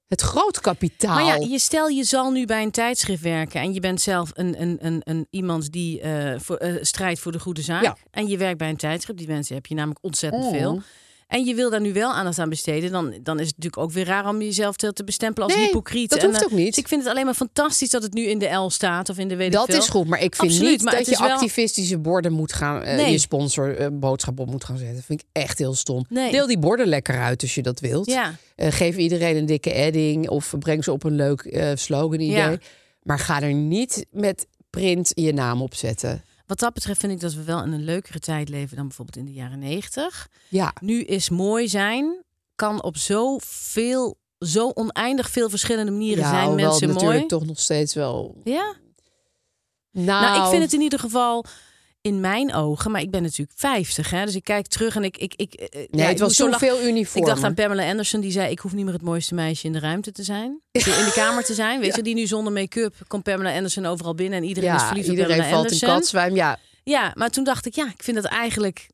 C: het groot kapitaal.
B: Maar ja, je stel je zal nu bij een tijdschrift werken en je bent zelf een, een, een, een iemand die eh, voor, eh, strijdt voor de goede zaak.
C: Ja.
B: En je werkt bij een tijdschrift, die mensen heb je namelijk ontzettend
C: Oh.
B: veel. en je wil daar nu wel aandacht aan besteden, dan, dan is het natuurlijk ook weer raar om jezelf te, te bestempelen als
C: Nee,
B: hypocriet.
C: dat
B: En,
C: hoeft
B: eh,
C: ook niet.
B: dus ik vind het alleen maar fantastisch dat het nu in de L staat of in de weet ik
C: Dat
B: veel.
C: is goed, maar ik vind
B: Absoluut,
C: niet
B: maar
C: dat
B: het
C: je
B: is wel-
C: activistische borden moet gaan, eh,
B: Nee.
C: je sponsor eh, boodschap op moet gaan zetten. Dat vind ik echt heel stom.
B: Nee.
C: Deel die borden lekker uit als je dat wilt.
B: Ja.
C: Eh, geef iedereen een dikke edding of breng ze op een leuk eh, slogan idee.
B: Ja.
C: Maar ga er niet met print je naam op zetten.
B: Wat dat betreft vind ik dat we wel in een leukere tijd leven dan bijvoorbeeld in de jaren negentig.
C: Ja,
B: Nu is mooi zijn, kan op zoveel, zo oneindig veel verschillende manieren
C: ja
B: zijn
C: hoewel het
B: mensen
C: natuurlijk
B: mooi.
C: toch nog steeds wel.
B: Ja.
C: Nou,
B: Nou, ik vind het in ieder geval in mijn ogen, maar ik ben natuurlijk 50, hè, dus ik kijk terug en ik. ik, ik eh,
C: Nee,
B: ja, ik
C: het was
B: moest zo
C: toen
B: lachen.
C: veel uniform.
B: Ik dacht aan Pamela Anderson, die zei: Ik hoef niet meer het mooiste meisje in de ruimte te zijn. In de kamer te zijn. Weet je, die nu zonder make-up komt Pamela Anderson overal binnen en iedereen is
C: ja,
B: verliefd op
C: iedereen
B: Pamela
C: valt in
B: Anderson.
C: katzwijm. Ja,
B: Ja, maar toen dacht ik: Ja, ik vind dat eigenlijk.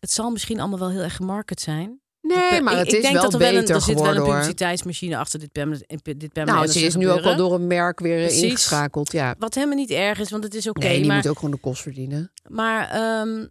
B: Het zal misschien allemaal wel heel erg gemarket zijn.
C: nee, maar
B: ik,
C: het
B: ik
C: is
B: denk
C: wel
B: dat er wel
C: beter
B: een, er zit wel
C: geworden
B: een
C: hoor.
B: publiciteitsmachine achter dit Pamela, dit Pamela
C: Nou,
B: Anderson
C: ze is nu ook
B: gebeuren.
C: al door een merk weer eh,
B: Precies.
C: ingeschakeld. Ja.
B: Wat helemaal niet erg is, want het is oké.
C: nee, die
B: maar
C: moet ook gewoon de kost verdienen.
B: Maar ehm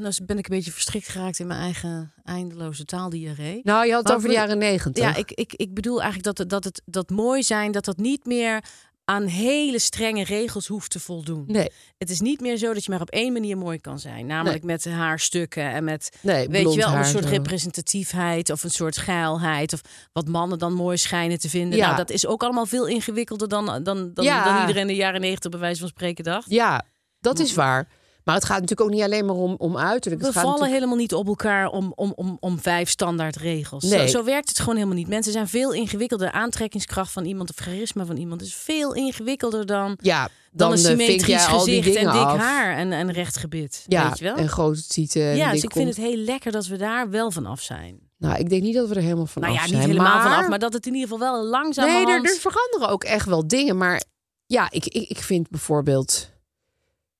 B: nou ben ik een beetje verstrikt geraakt in mijn eigen eindeloze taaldiarree.
C: Nou, je had het
B: Maar
C: over de
B: goed,
C: jaren negentig.
B: ja, ik, ik, ik bedoel eigenlijk dat, het- dat het dat mooi zijn, dat dat niet meer aan hele strenge regels hoeft te voldoen.
C: Nee,
B: Het is niet meer zo dat je maar op één manier mooi kan zijn. Namelijk met haarstukken en met,
C: Nee,
B: weet
C: blond
B: je wel,
C: haar eh.
B: een soort
C: zo.
B: representatiefheid of een soort geilheid. Of wat mannen dan mooi schijnen te vinden.
C: Ja.
B: Nou, dat is ook allemaal veel ingewikkelder dan, dan, dan, dan,
C: Ja.
B: iedereen in de jaren negentig bij wijze van spreken dacht.
C: ja, dat is waar. Maar het gaat natuurlijk ook niet alleen maar om, om uiterlijk.
B: Hm. We
C: dus Het gaat
B: vallen
C: natuurlijk-
B: helemaal niet op elkaar om, om, om, om vijf standaard regels. Zo,
C: Nee.
B: zo werkt het gewoon helemaal niet. Mensen zijn veel ingewikkelder. De aantrekkingskracht van iemand of charisma van iemand is veel ingewikkelder dan, dan,
C: Ja, dan,
B: een
C: eh, vink
B: symmetrisch
C: jij al die
B: gezicht en
C: dingen
B: dik
C: af.
B: haar en, en recht gebit.
C: Ja,
B: weet je wel?
C: en eh, grote tieten. en
B: ja, dus
C: dikke
B: ik vind
C: kont.
B: het heel lekker dat we daar wel van af zijn.
C: Nou, ik denk niet dat we er helemaal van
B: Nou
C: af
B: ja, niet
C: zijn.
B: helemaal
C: maar...
B: van af, maar dat het in ieder geval wel langzaam
C: Nee, er, er veranderen ook echt wel dingen. Maar ja, ik, ik, ik vind bijvoorbeeld...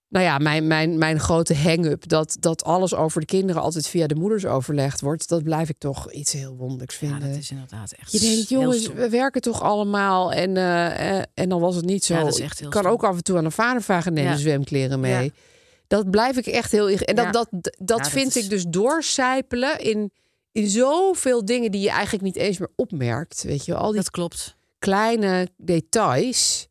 C: Nou ja, mijn, mijn, mijn grote hang-up... Dat, dat alles over de kinderen altijd via de moeders overlegd wordt... dat blijf ik toch iets heel wonderlijks
B: Ja,
C: vinden.
B: dat is inderdaad echt
C: Je denkt,
B: heel
C: jongens,
B: stom.
C: we werken toch allemaal. En, eh, eh, en dan was het niet zo.
B: Ja, dat is echt heel
C: ik kan
B: stom.
C: ook af en toe aan een vader vragen: neem
B: Ja.
C: de zwemkleren mee.
B: Ja.
C: Dat blijf ik echt heel. inge- En dat,
B: Ja.
C: dat, dat,
B: Ja, dat
C: vind
B: is-
C: ik dus doorcijpelen in, in zoveel dingen die je eigenlijk niet eens meer opmerkt. Weet je, wel. al die
B: Dat klopt.
C: kleine details.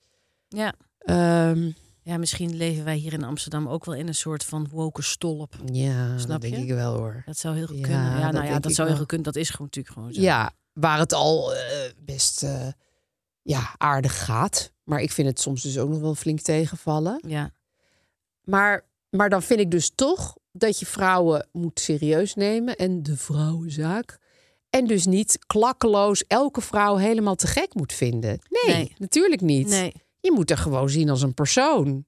B: Ja.
C: Ehm,
B: ja, misschien leven wij hier in Amsterdam ook wel in een soort van woke stolp.
C: ja,
B: Snap
C: dat denk
B: je?
C: ik wel hoor.
B: Dat zou heel goed
C: Ja,
B: kunnen. Ja,
C: dat
B: nou ja,
C: denk
B: dat
C: ik
B: zou heel
C: wel.
B: goed kunnen. Dat is gewoon natuurlijk gewoon zo.
C: Ja, waar het al eh, best eh, ja, aardig gaat. Maar ik vind het soms dus ook nog wel flink tegenvallen.
B: Ja.
C: Maar, maar dan vind ik dus toch dat je vrouwen moet serieus nemen en de vrouwenzaak. En dus niet klakkeloos elke vrouw helemaal te gek moet vinden. Nee,
B: Nee.
C: natuurlijk niet.
B: Nee.
C: Je moet er gewoon zien als een persoon.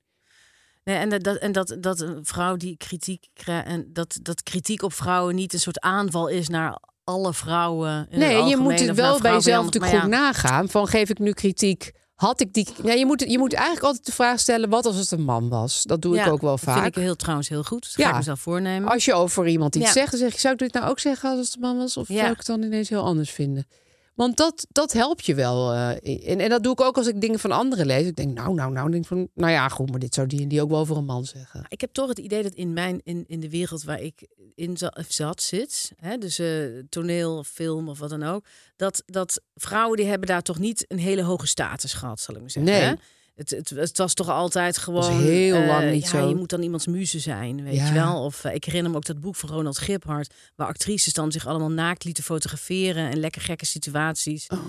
B: nee. En, dat, dat- en dat, dat een vrouw die kritiek krijgt. En dat, dat kritiek op vrouwen niet een soort aanval is naar alle vrouwen. In
C: nee,
B: het
C: je moet
B: algemeen
C: het
B: of naar
C: wel bij
B: vrouwen
C: jezelf
B: anders.
C: natuurlijk
B: Maar
C: goed nagaan. Van geef ik nu kritiek? Had ik die. Nee, je, moet, je moet eigenlijk altijd de vraag stellen: wat als het een man was? Dat doe
B: ja,
C: ik ook wel
B: dat
C: vaak.
B: vind ik heel, trouwens heel goed. Dat ga
C: Ja.
B: ik mezelf voornemen.
C: Als je over iemand iets
B: Ja.
C: zegt, dan zeg ik: zou ik dit nou ook zeggen als het een man was? Of
B: Ja.
C: zou ik het dan ineens heel anders vinden? Want dat, dat helpt je wel. eh, en, en dat doe ik ook als ik dingen van anderen lees. Ik denk, nou, nou, nou, denk van, nou ja, goed, maar dit zou die en die ook wel voor een man zeggen.
B: Ik heb toch het idee dat in, mijn, in, in de wereld waar ik in za- zat zit, hè, dus eh, toneel, film of wat dan ook, dat, dat vrouwen die hebben daar toch niet een hele hoge status gehad, zal ik maar zeggen.
C: Nee.
B: hè? Het, het, het was toch altijd gewoon...
C: heel
B: eh,
C: lang niet
B: ja,
C: zo.
B: je moet dan iemands muze zijn, weet
C: Ja.
B: je wel. Of eh, ik herinner me ook dat boek van Ronald Giphart... waar actrices dan zich allemaal naakt lieten fotograferen... en lekker gekke situaties.
C: Oh.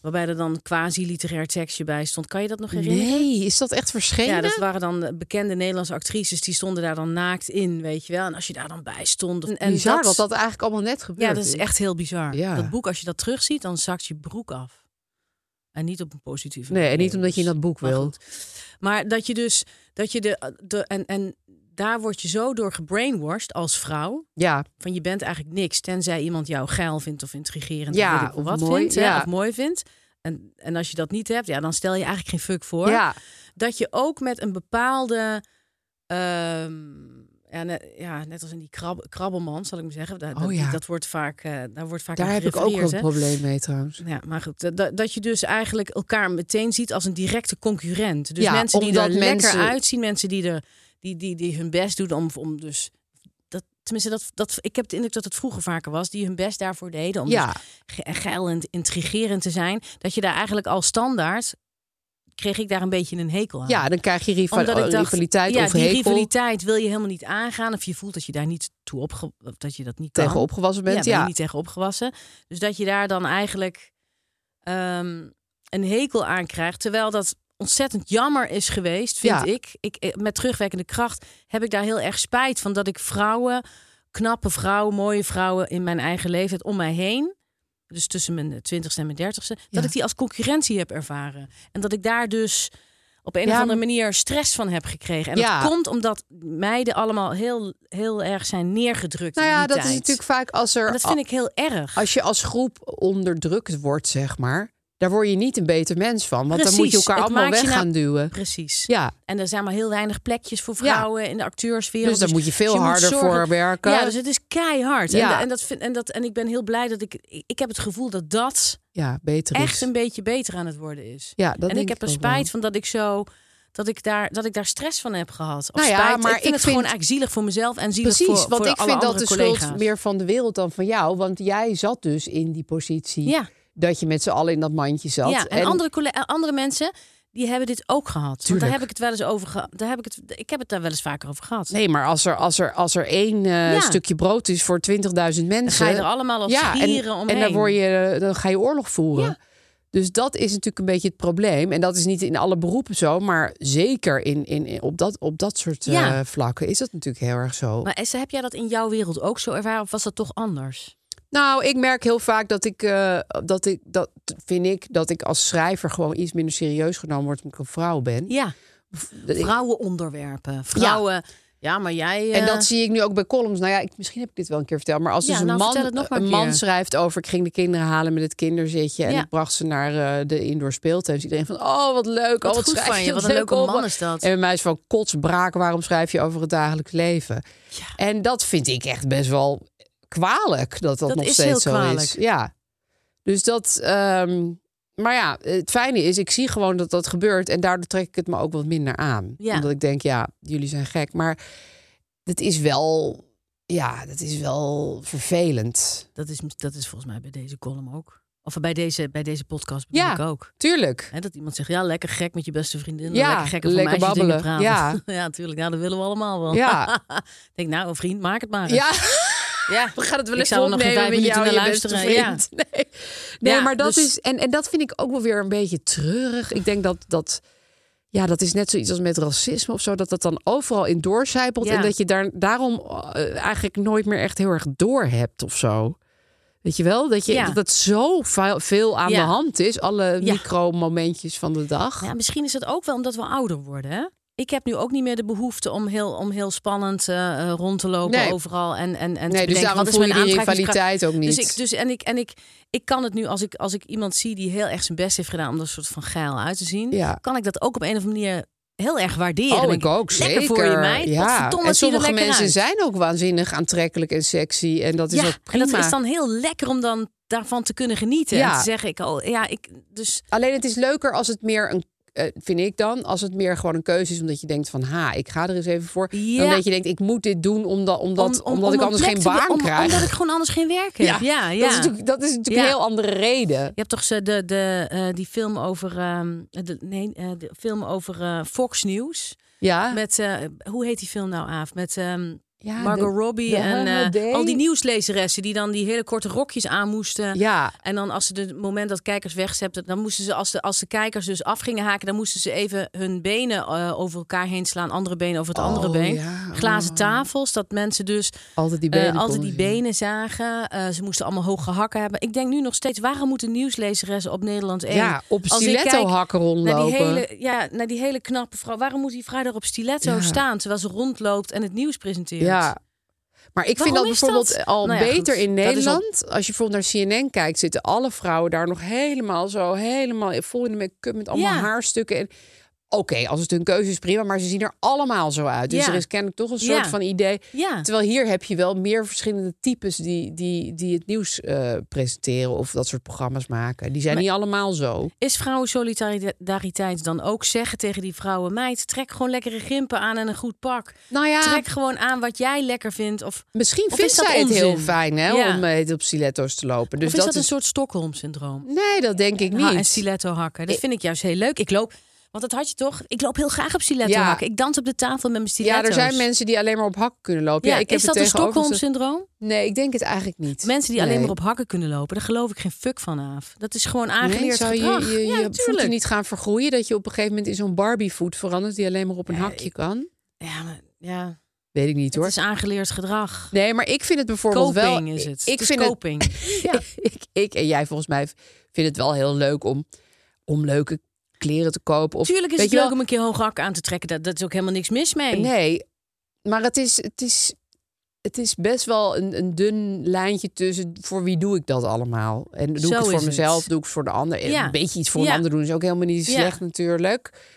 B: Waarbij er dan quasi-literair tekstje bij stond. Kan je dat nog herinneren?
C: Nee, is dat echt verschenen?
B: Ja, dat waren dan eh, bekende Nederlandse actrices. Die stonden daar dan naakt in, weet je wel. En als je daar dan bij stond... En, en
C: Bizar dat... dat eigenlijk allemaal net gebeurt.
B: Ja, dat is echt heel bizar.
C: Ja.
B: Dat boek, als je dat terugziet, dan zakt je broek af. En niet op een positieve
C: Nee, en
B: manier,
C: niet omdat je in
B: dus.
C: dat boek
B: Maar
C: wil.
B: goed. Maar dat je dus... Dat je de, de, en, en daar word je zo door gebrainwashed als vrouw...
C: Ja,
B: Van je bent eigenlijk niks, tenzij iemand jou geil vindt of intrigerend
C: Ja,
B: of, weet ik veel
C: of
B: wat
C: mooi,
B: vindt, hè,
C: ja.
B: of mooi vindt. En, en als je dat niet hebt, ja, dan stel je eigenlijk geen fuck voor
C: ja.
B: dat je ook met een bepaalde. ehm, ja, net, ja, net als in die krab, krabbelman, zal ik maar zeggen. Daar,
C: Oh
B: dat-
C: ja.
B: dat wordt vaak, eh, daar wordt vaak
C: daar
B: aan
C: heb ik ook wel
B: gerefereerd,
C: een
B: hè.
C: probleem mee trouwens.
B: Ja, maar goed, dat- dat, dat je dus eigenlijk elkaar meteen ziet als een directe concurrent. Dus
C: Ja,
B: mensen die
C: omdat
B: er
C: mensen-
B: lekker uitzien, mensen die, er, die, die, die hun best doen om, om dus. Dat, tenminste, dat, dat, ik heb de indruk dat het vroeger vaker was, die hun best daarvoor deden om
C: Ja.
B: dus ge- geil en intrigerend te zijn, dat je daar eigenlijk al standaard kreeg ik daar een beetje een hekel aan.
C: Ja, dan krijg je riva-
B: Omdat ik dacht,
C: oh, rivaliteit
B: ja,
C: of
B: die
C: hekel
B: rivaliteit wil je helemaal niet aangaan. Of je voelt dat je daar niet toe opge... of dat je dat niet
C: tegen
B: kan.
C: opgewassen
B: Ja,
C: bent.
B: ben je
C: Ja,
B: niet tegen opgewassen. Dus dat je daar dan eigenlijk ehm, een hekel aan krijgt. Terwijl dat ontzettend jammer is geweest, vind
C: Ja.
B: ik. ik. eh, Met terugwerkende kracht heb ik daar heel erg spijt van. Dat ik vrouwen, knappe vrouwen, mooie vrouwen in mijn eigen leeftijd om mij heen... Dus tussen mijn twintigste en mijn dertigste.
C: Ja.
B: Dat ik die als concurrentie heb ervaren. En dat ik daar dus op een
C: Ja,
B: of andere manier stress van heb gekregen. En
C: Ja.
B: dat komt omdat meiden allemaal heel, heel erg zijn neergedrukt.
C: nou
B: in
C: ja,
B: die
C: dat is
B: tijd.
C: natuurlijk vaak als
B: En
C: er
B: dat vind ik heel erg.
C: als je als groep onderdrukt wordt, zeg maar, daar word je niet een beter mens van, want dan moet je
B: Precies,
C: elkaar
B: het
C: allemaal
B: maakt
C: weg
B: je
C: gaan
B: nou-
C: duwen.
B: Precies.
C: Ja,
B: En er zijn maar heel weinig plekjes voor
C: Ja.
B: vrouwen in de acteurswereld.
C: Dus daar moet je veel harder
B: zorgen-
C: voor werken.
B: Ja, dus het is keihard. En
C: Ja.
B: da- En, dat vind, en, dat, en ik ben heel blij dat ik... ik- Ik heb het gevoel dat dat
C: ja, beter is.
B: echt een beetje beter aan het worden is.
C: Ja, dat
B: en
C: denk
B: ik heb er
C: ook
B: spijt
C: wel.
B: van dat ik zo... Dat ik, daar, dat ik daar stress van heb gehad. Of
C: Nou ja,
B: spijt. ik
C: maar
B: vind
C: ik
B: het gewoon
C: vind-
B: eigenlijk zielig voor mezelf en zielig
C: Precies,
B: voor,
C: want
B: voor
C: ik
B: alle
C: vind dat
B: andere
C: de
B: collega's.
C: schuld meer van de wereld dan van jou, want jij zat dus in die positie
B: Ja.
C: dat je met z'n allen in dat mandje zat.
B: Ja, en, Andere, colle- en andere mensen die hebben dit ook gehad. Want daar
C: Tuurlijk.
B: heb ik het wel eens over gehad. Daar heb ik het, ik heb het daar wel eens vaker over gehad.
C: Nee, maar als er, als er, als er één eh,
B: Ja.
C: stukje brood is voor 20.000 mensen...
B: ga je er allemaal als gieren
C: en,
B: omheen.
C: En dan, word je, eh, dan ga je oorlog voeren.
B: Ja.
C: Dus dat is natuurlijk een beetje het probleem. En dat is niet in alle beroepen zo, maar zeker in, in, in- op, dat, op dat soort eh,
B: Ja.
C: vlakken is dat natuurlijk heel erg zo.
B: Maar Esther, heb jij dat in jouw wereld ook zo ervaren? Of was dat toch anders?
C: Nou, ik merk heel vaak dat ik, eh, dat ik, dat vind ik, dat ik als schrijver gewoon iets minder serieus genomen word omdat ik een vrouw ben.
B: Ja,
C: Dat ik-
B: vrouwenonderwerpen. Vrouwen. Ja, maar jij... eh,
C: En dat zie ik nu ook bij columns. Nou ja, ik, misschien heb ik dit wel een keer verteld. Maar als
B: Ja,
C: dus een,
B: nou, vertel het
C: man,
B: nog maar een
C: een man
B: keer.
C: schrijft over... ik ging de kinderen halen met het kinderzitje... en
B: Ja.
C: ik bracht ze naar eh, de indoor speeltuin. Dus iedereen van, oh, wat leuk.
B: Wat
C: oh,
B: goed
C: schrijf
B: van je, wat een
C: leuk
B: leuke
C: op.
B: man is dat.
C: En bij mij is van kotsbraak, waarom schrijf je over het dagelijks leven? En dat vind ik echt best wel kwalijk, dat dat,
B: Dat
C: nog
B: is
C: steeds
B: heel
C: zo is.
B: kwalijk.
C: Ja, dus dat... ehm, maar ja, het fijne is, ik zie gewoon dat dat gebeurt... en daardoor trek ik het me ook wat minder aan.
B: Ja.
C: Omdat ik denk, ja, jullie zijn gek. Maar dat is wel, ja, dat is wel vervelend.
B: dat, is, dat is volgens mij bij deze column ook. Of bij deze, bij deze podcast bedoel
C: Ja.
B: ik ook.
C: Tuurlijk.
B: Hè, dat iemand zegt, ja, lekker gek met je beste vriendin.
C: Ja,
B: lekker gek over
C: lekker
B: meisjesdingen
C: babbelen,
B: praten. Ja. natuurlijk. Nou, dat willen we allemaal wel.
C: Ja.
B: Ik denk, nou, een vriend, maak het maar eens.
C: Ja,
B: ja.
C: we gaan het wel
B: Ik
C: even
B: zou er nog geen
C: opnemen
B: vijf
C: met
B: minuten
C: jou en
B: naar
C: je beste
B: luisteren, ja.
C: vriend. Nee, nee
B: Ja,
C: maar dat
B: dus-
C: is, en, en dat vind ik ook wel weer een beetje treurig. Ik denk dat dat, ja, dat is net zoiets als met racisme of zo. Dat dat dan overal in doorcijpelt.
B: Ja.
C: En dat je daar, daarom eh, eigenlijk nooit meer echt heel erg door hebt of zo. Weet je wel? Dat, je,
B: Ja.
C: dat het zo veel- veel aan
B: Ja.
C: de hand is. Alle
B: Ja.
C: micromomentjes van de dag.
B: Ja, misschien is dat ook wel omdat we ouder worden. Hè? Ik heb nu ook niet meer de behoefte om heel, om heel spannend eh, eh, rond te lopen
C: Nee.
B: overal. En, en, en te
C: Nee,
B: bedenken,
C: dus daarom
B: wat is
C: voel je
B: mijn
C: die
B: aantrekkingskracht?
C: rivaliteit ook niet.
B: Dus ik, dus, en ik, en ik, ik kan het nu, als ik, als ik iemand zie die heel erg zijn best heeft gedaan om er soort van geil uit te zien,
C: Ja.
B: kan ik dat ook op een of andere manier heel erg waarderen.
C: Oh,
B: Dan
C: ik
B: denk
C: ook, zeker.
B: Lekker voor je meid.
C: Ja.
B: Potverdomme,
C: En
B: zie je er
C: sommige
B: lekker
C: mensen
B: uit.
C: zijn ook waanzinnig aantrekkelijk en sexy. En dat is
B: ja,
C: ook prima.
B: en dat is dan heel lekker om dan daarvan te kunnen genieten.
C: Ja.
B: En te zeggen, ik, oh, ja, ik, dus
C: Alleen het is leuker als het meer een eh, vind ik dan, als het meer gewoon een keuze is, omdat je denkt van ha, ik ga er eens even voor. Dan
B: Ja.
C: dat je denkt, ik moet dit doen omdat, omdat,
B: om- om-
C: omdat
B: om
C: ik
B: een
C: anders
B: plek
C: geen
B: te-
C: baan
B: om-
C: krijg.
B: Omdat ik gewoon anders geen werk heb. Ja, ja.
C: Dat is natuurlijk, dat is natuurlijk een
B: Ja.
C: heel andere reden.
B: Je hebt toch ze- de, de, eh, die film over, ehm, de, nee, eh, de film over eh, Fox News.
C: Ja,
B: Met, eh, hoe heet die film nou, Aaf? Met ehm,
C: Ah. Ja,
B: Margot
C: de-
B: Robbie
C: de
B: en eh,
C: Holiday.
B: al die nieuwslezeressen... die dan die hele korte rokjes aan moesten.
C: ja.
B: En dan als ze de- het moment dat kijkers wegzepten... dan moesten ze, als de, als de kijkers dus af gingen haken... dan moesten ze even hun benen eh, over elkaar heen slaan. Andere benen over het andere
C: Oh,
B: been.
C: ja.
B: Glazen tafels, dat mensen dus...
C: altijd die
B: Eh,
C: benen.
B: altijd
C: konden
B: die
C: zien.
B: benen zagen. Eh, ze moesten allemaal hoge hakken hebben. Ik denk nu nog steeds, waarom moeten nieuwslezeressen op Nederland 1...
C: Ja, op
B: Als ik
C: stiletto
B: kijk
C: hakken
B: naar
C: rondlopen.
B: die, hele, ja, naar die hele knappe vrouw. Waarom moet die vrouw daar op stiletto
C: Ja.
B: staan... terwijl ze rondloopt en het nieuws presenteert?
C: Ja. Maar ik vind dat
B: Waarom is
C: bijvoorbeeld
B: dat?
C: al
B: Nou ja,
C: beter
B: goed,
C: in
B: dat is al-
C: Nederland. Als je bijvoorbeeld naar CNN kijkt, zitten alle vrouwen daar nog helemaal zo, helemaal vol in de make-up met allemaal
B: Ja.
C: haarstukken. En Oké, als het hun keuze is, prima. Maar ze zien er allemaal zo uit. Dus
B: Ja.
C: er is kennelijk toch een soort
B: Ja.
C: van idee.
B: Ja.
C: Terwijl hier heb je wel meer verschillende types die, die, die het nieuws eh, presenteren of dat soort programma's maken. Die zijn
B: Maar-
C: niet allemaal zo.
B: Is vrouwensolidariteit dan ook zeggen tegen die vrouwen... meid, trek gewoon lekkere gimpen aan en een goed pak.
C: Nou ja, Dus
B: Trek gewoon aan wat jij lekker vindt. Of,
C: misschien
B: Of
C: vindt
B: is dat
C: zij het heel
B: onzin?
C: fijn hè,
B: Ja.
C: om eh, op stiletto's te lopen. Dus
B: of is dat, een soort Stockholm-syndroom?
C: Nee, dat denk ik niet.
B: Ha- en stiletto hakken. Dat vind ik juist heel leuk. Ik loop... Want dat had je toch? Ik loop heel graag op stiletto
C: Ja.
B: hakken. Ik dans op de tafel met mijn stiletto's.
C: ja, er zijn mensen die alleen maar op hakken kunnen lopen.
B: Ja,
C: Ja, ik heb
B: is
C: het
B: dat een
C: tegenovergestelde-
B: Stockholm-syndroom?
C: Nee, ik denk het eigenlijk niet.
B: Mensen die alleen
C: Nee.
B: maar op hakken kunnen lopen, daar geloof ik geen fuck van af. Dat is gewoon
C: Nee,
B: aangeleerd
C: zou je
B: gedrag.
C: je, je
B: ja,
C: voeten
B: natuurlijk.
C: niet gaan vergroeien? Dat je op een gegeven moment in zo'n Barbie-voet verandert die alleen maar op een hakje kan?
B: Ja, maar, ja.
C: Weet ik niet
B: het
C: hoor.
B: is aangeleerd gedrag.
C: Nee, maar ik vind het bijvoorbeeld
B: Coping
C: wel...
B: is het.
C: Ik
B: Het is
C: vind het,
B: coping.
C: ja. ik, ik en jij volgens mij vindt het wel heel leuk om, om leuke kleren te kopen. Of,
B: Tuurlijk is
C: weet
B: het
C: je
B: leuk
C: wel,
B: om een keer hoge hakken aan te trekken. Daar dat is ook helemaal niks mis mee.
C: Nee, maar het is, het is, het is best wel een, een dun lijntje tussen voor wie doe ik dat allemaal. En doe
B: Zo
C: ik het
B: is
C: voor
B: het.
C: mezelf, doe ik het voor de ander. En
B: Ja.
C: Een beetje iets voor een
B: Ja.
C: ander doen is ook helemaal niet
B: Ja.
C: slecht natuurlijk.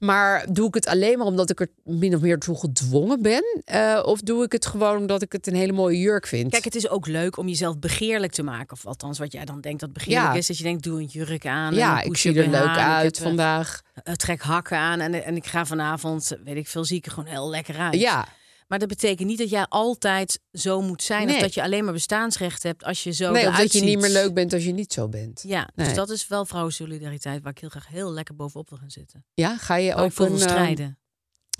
C: Maar doe ik het alleen maar omdat ik er min of meer toe gedwongen ben? Eh, of doe ik het gewoon omdat ik het een hele mooie jurk vind?
B: Kijk, het is ook leuk om jezelf begeerlijk te maken. Of althans, wat jij dan denkt dat begeerlijk
C: Ja.
B: is. Dat je denkt, doe een jurk aan. en
C: ja,
B: een
C: ik
B: poesje
C: zie er
B: BH,
C: leuk
B: en ik
C: uit
B: heb, eh,
C: vandaag.
B: eh, trek hakken aan. En, en ik ga vanavond, eh, weet ik veel, zie ik er gewoon heel lekker uit.
C: Ja,
B: Maar dat betekent niet dat jij altijd zo moet zijn. Of
C: Nee.
B: dat je alleen maar bestaansrecht hebt als je zo
C: nee, of
B: eruit
C: dat je niet
B: ziet.
C: meer leuk bent als je niet zo bent.
B: Ja,
C: Nee.
B: dus dat is wel vrouwensolidariteit waar ik heel graag heel lekker bovenop wil gaan zitten.
C: Ja, ga je
B: Waar ik
C: ook
B: voor
C: een,
B: wil
C: eh,
B: strijden.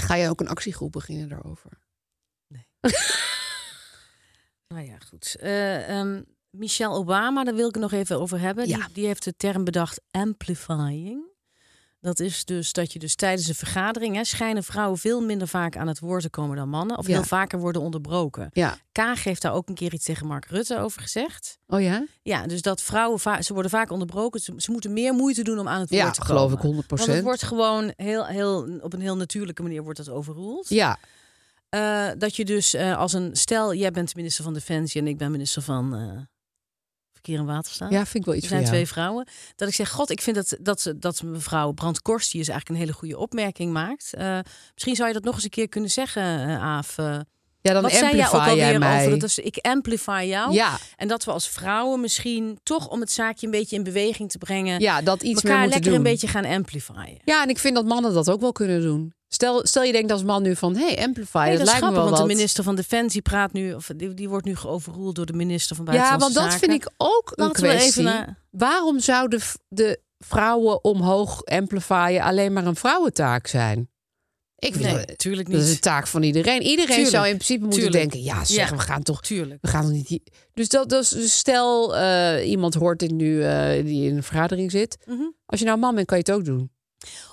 C: ga je ook een actiegroep beginnen daarover?
B: Nou ja, goed. Eh, ehm, Michelle Obama, daar wil ik het nog even over hebben.
C: Ja.
B: Die, die heeft de term bedacht amplifying. Dat is dus dat je dus tijdens een vergadering... Hè, schijnen vrouwen veel minder vaak aan het woord te komen dan mannen. Of
C: Ja.
B: heel vaker worden onderbroken.
C: Ja.
B: Kaag heeft daar ook een keer iets tegen Mark Rutte over gezegd.
C: Oh ja?
B: Ja, dus dat vrouwen, va- ze worden vaak onderbroken. Ze, ze moeten meer moeite doen om aan het woord
C: Ja,
B: te komen.
C: geloof ik 100%.
B: Want het wordt gewoon heel, heel, op een heel natuurlijke manier wordt dat overroeld.
C: Ja,
B: Eh, dat je dus eh, als een stel, jij bent minister van Defensie en ik ben minister van eh, Verkeer en Waterstaat.
C: ja, vind ik wel
B: er
C: iets
B: zijn
C: van
B: twee
C: jou.
B: vrouwen. Dat ik zeg, god, ik vind dat, dat, ze- dat mevrouw Brandkorst, die is eigenlijk een hele goede opmerking maakt. Eh, misschien zou je dat nog eens een keer kunnen zeggen, eh, Aaf. Eh,
C: Ja, dan
B: wat zei jij ook
C: amplify jij
B: alweer
C: mij.
B: over het? Dus ik amplify jou.
C: Ja,
B: En dat we als vrouwen misschien toch om het zaakje een beetje in beweging te brengen.
C: ja, dat iets meer
B: elkaar
C: moeten
B: lekker
C: doen.
B: een beetje gaan amplifyen.
C: Ja, en ik vind dat mannen dat ook wel kunnen doen. Stel, stel je denkt als man nu van, hey, amplify,
B: Nee, dat is
C: lijkt
B: grappig,
C: me wel
B: want de
C: wat.
B: minister van Defensie praat nu, of die, die wordt nu geoverroeld door de minister van
C: ja,
B: Buitenlandse
C: want dat
B: Zaken.
C: vind ik ook een
B: Laten we even
C: kwestie.
B: naar-
C: Waarom zouden v- de vrouwen omhoog amplifyen alleen maar een vrouwentaak zijn? Ik vind
B: Nee,
C: dat-
B: tuurlijk
C: Dat is
B: niet.
C: een taak van iedereen. Iedereen
B: Tuurlijk,
C: zou in principe moeten
B: tuurlijk.
C: denken: ja, zeg,
B: Ja.
C: we gaan toch.
B: Tuurlijk.
C: We gaan toch niet. hier- Dus, dat, dat is, dus stel, eh, iemand hoort dit nu eh, die in een vergadering zit. Als je nou man bent, kan je het ook doen.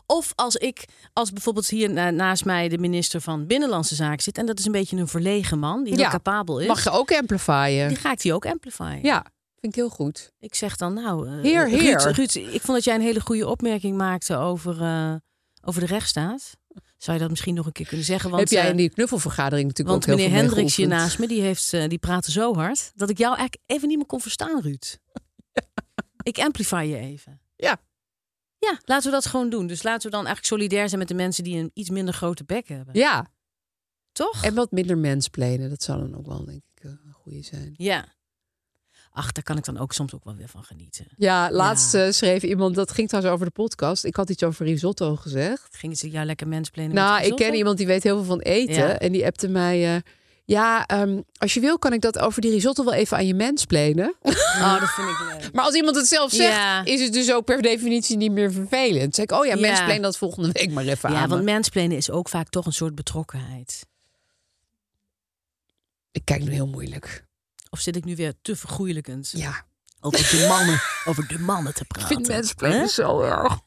B: Of als ik, als bijvoorbeeld hier na- naast mij de minister van Binnenlandse Zaken zit, en dat is een beetje een verlegen man, die heel
C: Ja.
B: capabel is,
C: Mag je ook amplifyen?
B: die ga ik die ook amplifyen.
C: Ja, vind ik heel goed.
B: Ik zeg dan, nou, eh,
C: Heer,
B: Ruud,
C: heer.
B: Ruud, ik vond dat jij een hele goede opmerking maakte over, eh, over de rechtsstaat. Zou je dat misschien nog een keer kunnen zeggen? Want,
C: Heb jij
B: eh,
C: in die knuffelvergadering natuurlijk
B: Want
C: ook heel
B: meneer
C: veel mee
B: Hendricks hier
C: geoefend.
B: naast me, die, heeft, eh, die praatte zo hard... dat ik jou eigenlijk even niet meer kon verstaan, Ruud. Ik amplify je even.
C: Ja.
B: Ja, laten we dat gewoon doen. Dus laten we dan eigenlijk solidair zijn met de mensen... die een iets minder grote bek hebben.
C: Ja,
B: Toch?
C: en wat minder mensplenen. Dat zou dan ook wel, denk ik, eh, een goede zijn.
B: Ja. Ach, daar kan ik dan ook soms ook wel weer van genieten.
C: Ja, laatst
B: Ja.
C: eh, schreef iemand, dat ging trouwens over de podcast. Ik had iets over risotto gezegd.
B: Ging ze jou lekker mensplenen
C: Nou,
B: met
C: ik ken
B: risotto?
C: iemand die weet heel veel van eten.
B: Ja.
C: En die appte mij... eh, ja, ehm, als je wil kan ik dat over die risotto wel even aan je mens plenen.
B: Oh, dat vind ik leuk.
C: Maar als iemand het zelf zegt,
B: Ja.
C: is het dus ook per definitie niet meer vervelend. Dan zeg ik, oh ja,
B: Ja.
C: mens plenen dat volgende week maar even
B: Ja,
C: aan
B: want
C: me.
B: mensplenen is ook vaak toch een soort betrokkenheid.
C: Ik kijk nu heel moeilijk.
B: Of zit ik nu weer te vergoeilijkend
C: Ja,
B: over de mannen, over de mannen te
C: ik
B: praten?
C: vind dus- mensplenen
B: Hè?
C: zo erg.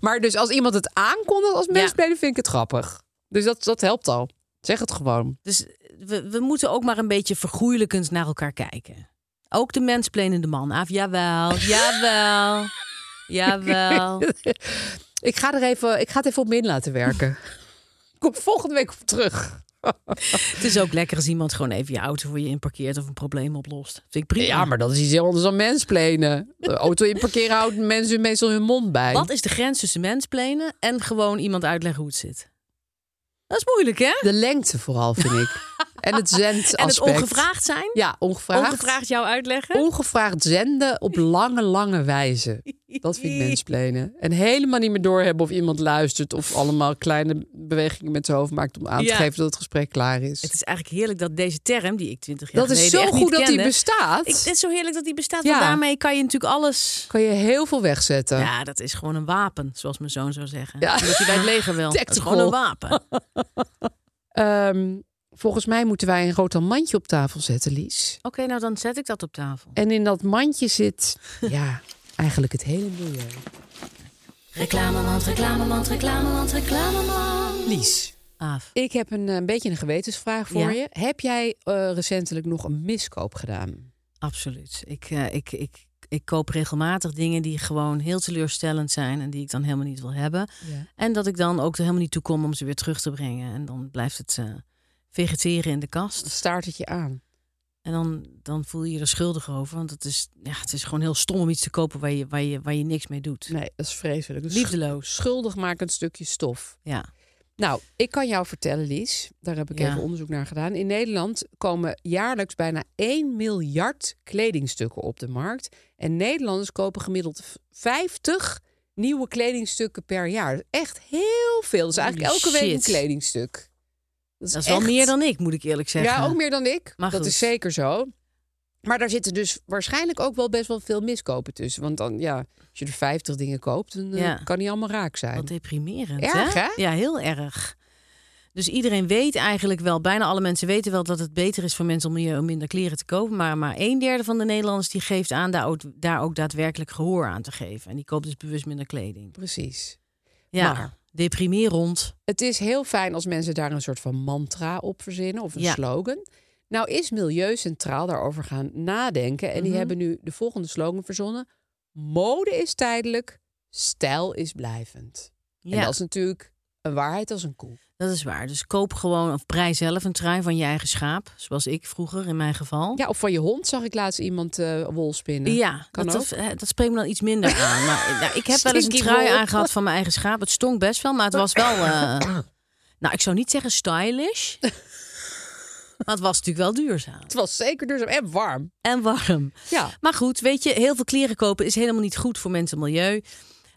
C: Maar dus als iemand het aankondigt als mensplenen, vind ik het grappig. Dus dat, dat helpt al. Zeg het gewoon.
B: Dus we, we moeten ook maar een beetje vergoeilijkend naar elkaar kijken. Ook de mensplenende man. Af, jawel, jawel, jawel.
C: Ik ga, er even, ik ga het even op min laten werken. Kom volgende week op terug.
B: Het is ook lekker als iemand gewoon even je auto voor je inparkeert of een probleem oplost. Vind ik prima.
C: Ja, maar dat is iets heel anders dan mensplenen. De auto in parkeren houdt mensen meestal hun mond bij.
B: Wat is de grens tussen mensplenen en gewoon iemand uitleggen hoe het zit? Dat is moeilijk, hè?
C: De lengte vooral, vind ik. En het zendaspect.
B: En het ongevraagd zijn?
C: Ja, ongevraagd.
B: Ongevraagd jou uitleggen?
C: Ongevraagd zenden op lange, lange wijze. Dat vind ik mensplenen. En helemaal niet meer doorhebben of iemand luistert... of allemaal kleine bewegingen met zijn hoofd maakt... om aan te
B: Ja.
C: geven dat het gesprek klaar is.
B: Het is eigenlijk heerlijk dat deze term, die ik twintig jaar
C: dat is
B: geleden
C: zo
B: echt niet
C: goed dat die
B: kende,
C: bestaat.
B: Ik, het is zo heerlijk dat die bestaat,
C: Ja.
B: want daarmee kan je natuurlijk alles...
C: Kan je heel veel wegzetten.
B: Ja, dat is gewoon een wapen, zoals mijn zoon zou zeggen.
C: Ja.
B: Dat hij bij het leger wil. Dat is
C: Tactical.
B: gewoon een wapen.
C: Ehm, volgens mij moeten wij een rotan mandje op tafel zetten, Lies.
B: Oké, nou dan zet ik dat op tafel.
C: En in dat mandje zit, ja, eigenlijk het hele milieu.
D: Reclamemand, reclamemand, reclamemand, reclamemand.
C: Lies,
B: Af.
C: ik heb een, eh, een beetje een gewetensvraag voor
B: Ja.
C: je. Heb jij eh, recentelijk nog een miskoop gedaan?
B: Absoluut. Ik, eh, ik, ik, ik koop regelmatig dingen die gewoon heel teleurstellend zijn en die ik dan helemaal niet wil hebben.
C: Ja.
B: En dat ik dan ook er helemaal niet toe kom om ze weer terug te brengen. En dan blijft het eh, vegeteren in de
C: Dan
B: kast.
C: staart het je aan.
B: En dan, dan voel je je er schuldig over. Want het is, ja, het is gewoon heel stom om iets te kopen waar je, waar je, waar je niks mee doet.
C: Nee, dat is vreselijk. Dus
B: Liefdeloos.
C: Schuldig een stukje stof.
B: Ja.
C: Nou, ik kan jou vertellen, Lies. Daar heb ik
B: Ja.
C: even onderzoek naar gedaan. In Nederland komen jaarlijks bijna 1 miljard kledingstukken op de markt. En Nederlanders kopen gemiddeld v- 50 nieuwe kledingstukken per jaar. Echt heel veel. Dus eigenlijk
B: Holy
C: elke week een
B: shit.
C: kledingstuk.
B: Dat is wel
C: echt-
B: meer dan ik, moet ik eerlijk zeggen.
C: Ja, ook meer dan ik.
B: Maar
C: dat
B: goed.
C: is zeker zo. Maar daar zitten dus waarschijnlijk ook wel best wel veel miskopen tussen. Want dan, ja, als je er 50 dingen koopt, dan eh,
B: Ja.
C: kan die allemaal raak zijn.
B: Wat deprimerend,
C: Erg, hè?
B: Ja, heel erg. Dus iedereen weet eigenlijk wel, bijna alle mensen weten wel dat het beter is voor mensen om, je- om minder kleren te kopen. Maar, maar een derde van de Nederlanders die geeft aan daar ook, daar ook daadwerkelijk gehoor aan te geven. En die koopt dus bewust minder kleding.
C: Precies.
B: Ja,
C: Maar-
B: deprimerend.
C: Het is heel fijn als mensen daar een soort van mantra op verzinnen of een
B: Ja.
C: slogan. Nou is Milieu Centraal daarover gaan nadenken. En
B: Mhm.
C: die hebben nu de volgende slogan verzonnen. Mode is tijdelijk, stijl is blijvend.
B: Ja,
C: En dat is natuurlijk een waarheid als een koe.
B: waar. Dus koop gewoon of prijs zelf een trui van je eigen schaap. Zoals ik vroeger in mijn geval.
C: Ja, of van je hond zag ik laatst iemand eh wol spinnen.
B: Ja,
C: Kan
B: dat, dat,
C: ook.
B: eh, dat spreekt me dan iets minder aan. Maar, nou, ik heb wel eens een
C: Stinky
B: trui
C: wol.
B: aangehad van mijn eigen schaap. Het stonk best wel, maar het was wel... eh, nou, ik zou niet zeggen stylish. maar het was natuurlijk wel duurzaam.
C: Het was zeker duurzaam en warm.
B: En warm.
C: Ja.
B: Maar goed, weet je, heel veel kleren kopen is helemaal niet goed voor mensen en milieu.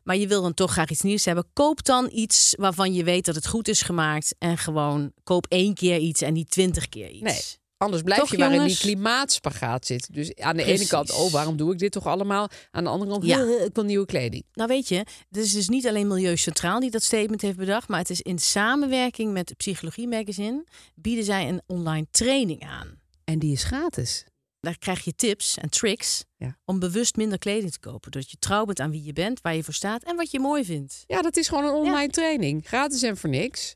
B: Maar je wil dan toch graag iets nieuws hebben. Koop dan iets waarvan je weet dat het goed is gemaakt. En gewoon koop één keer iets en niet twintig keer iets.
C: Nee. Anders blijf
B: Toch,
C: je maar in die
B: jongens?
C: klimaatspagaat zitten. Dus aan de
B: Precies.
C: ene kant, oh, waarom doe ik dit toch allemaal? Aan de andere kant,
B: Ja.
C: ik wil nieuwe kleding.
B: Nou weet je, het is dus niet alleen Milieu Centraal die dat statement heeft bedacht, maar het is in samenwerking met Psychologie Magazine bieden zij een online training aan.
C: En die is gratis.
B: Daar krijg je tips en tricks
C: Ja.
B: om bewust minder kleding te kopen, doordat je trouw bent aan wie je bent, waar je voor staat en wat je mooi vindt.
C: Ja, dat is gewoon een online training. Gratis en voor niks.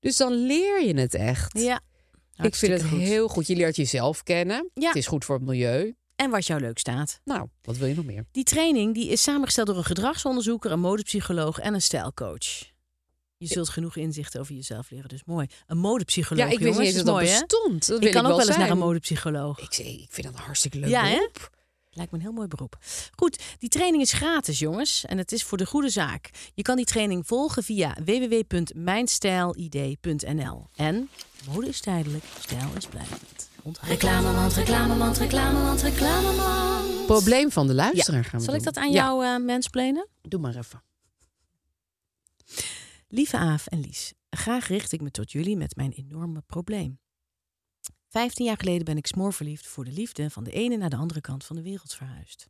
C: Dus dan leer je het echt.
B: Ja.
C: ik vind
B: Hartstikke
C: het heel goed. Je leert jezelf kennen.
B: Ja.
C: Het is goed voor het milieu.
B: En wat jou leuk staat.
C: Nou, wat wil je nog meer?
B: Die training die is samengesteld door een gedragsonderzoeker, een modepsycholoog en een stijlcoach. Je zult genoeg inzichten over jezelf leren, dus mooi. Een modepsycholoog,
C: ja, ik wist
B: jongens,
C: niet eens
B: is
C: dat dat
B: mooi, hè?
C: bestond. Dat
B: Ik
C: wil
B: kan
C: ik
B: ook wel eens
C: zijn.
B: naar een modepsycholoog.
C: Ik, zeg, ik vind dat een hartstikke leuk
B: Ja, hè?
C: beroep.
B: Lijkt me een heel mooi beroep. Goed, die training is gratis, jongens. En het is voor de goede zaak. Je kan die training volgen via www.mijnstijlid.nl. En mode is tijdelijk, stijl is blijvend. Onthoud.
D: Reclamemand, reclamemand, reclamemand, reclamemand.
C: Probleem van de luisteraar gaan we
B: Zal ik
C: doen.
B: dat aan
C: Ja,
B: jou eh mensplenen?
C: doe maar even.
B: Lieve Aaf en Lies, graag richt ik me tot jullie met mijn enorme probleem. Vijftien jaar geleden ben ik smoorverliefd voor de liefde van de ene naar de andere kant van de wereld verhuisd.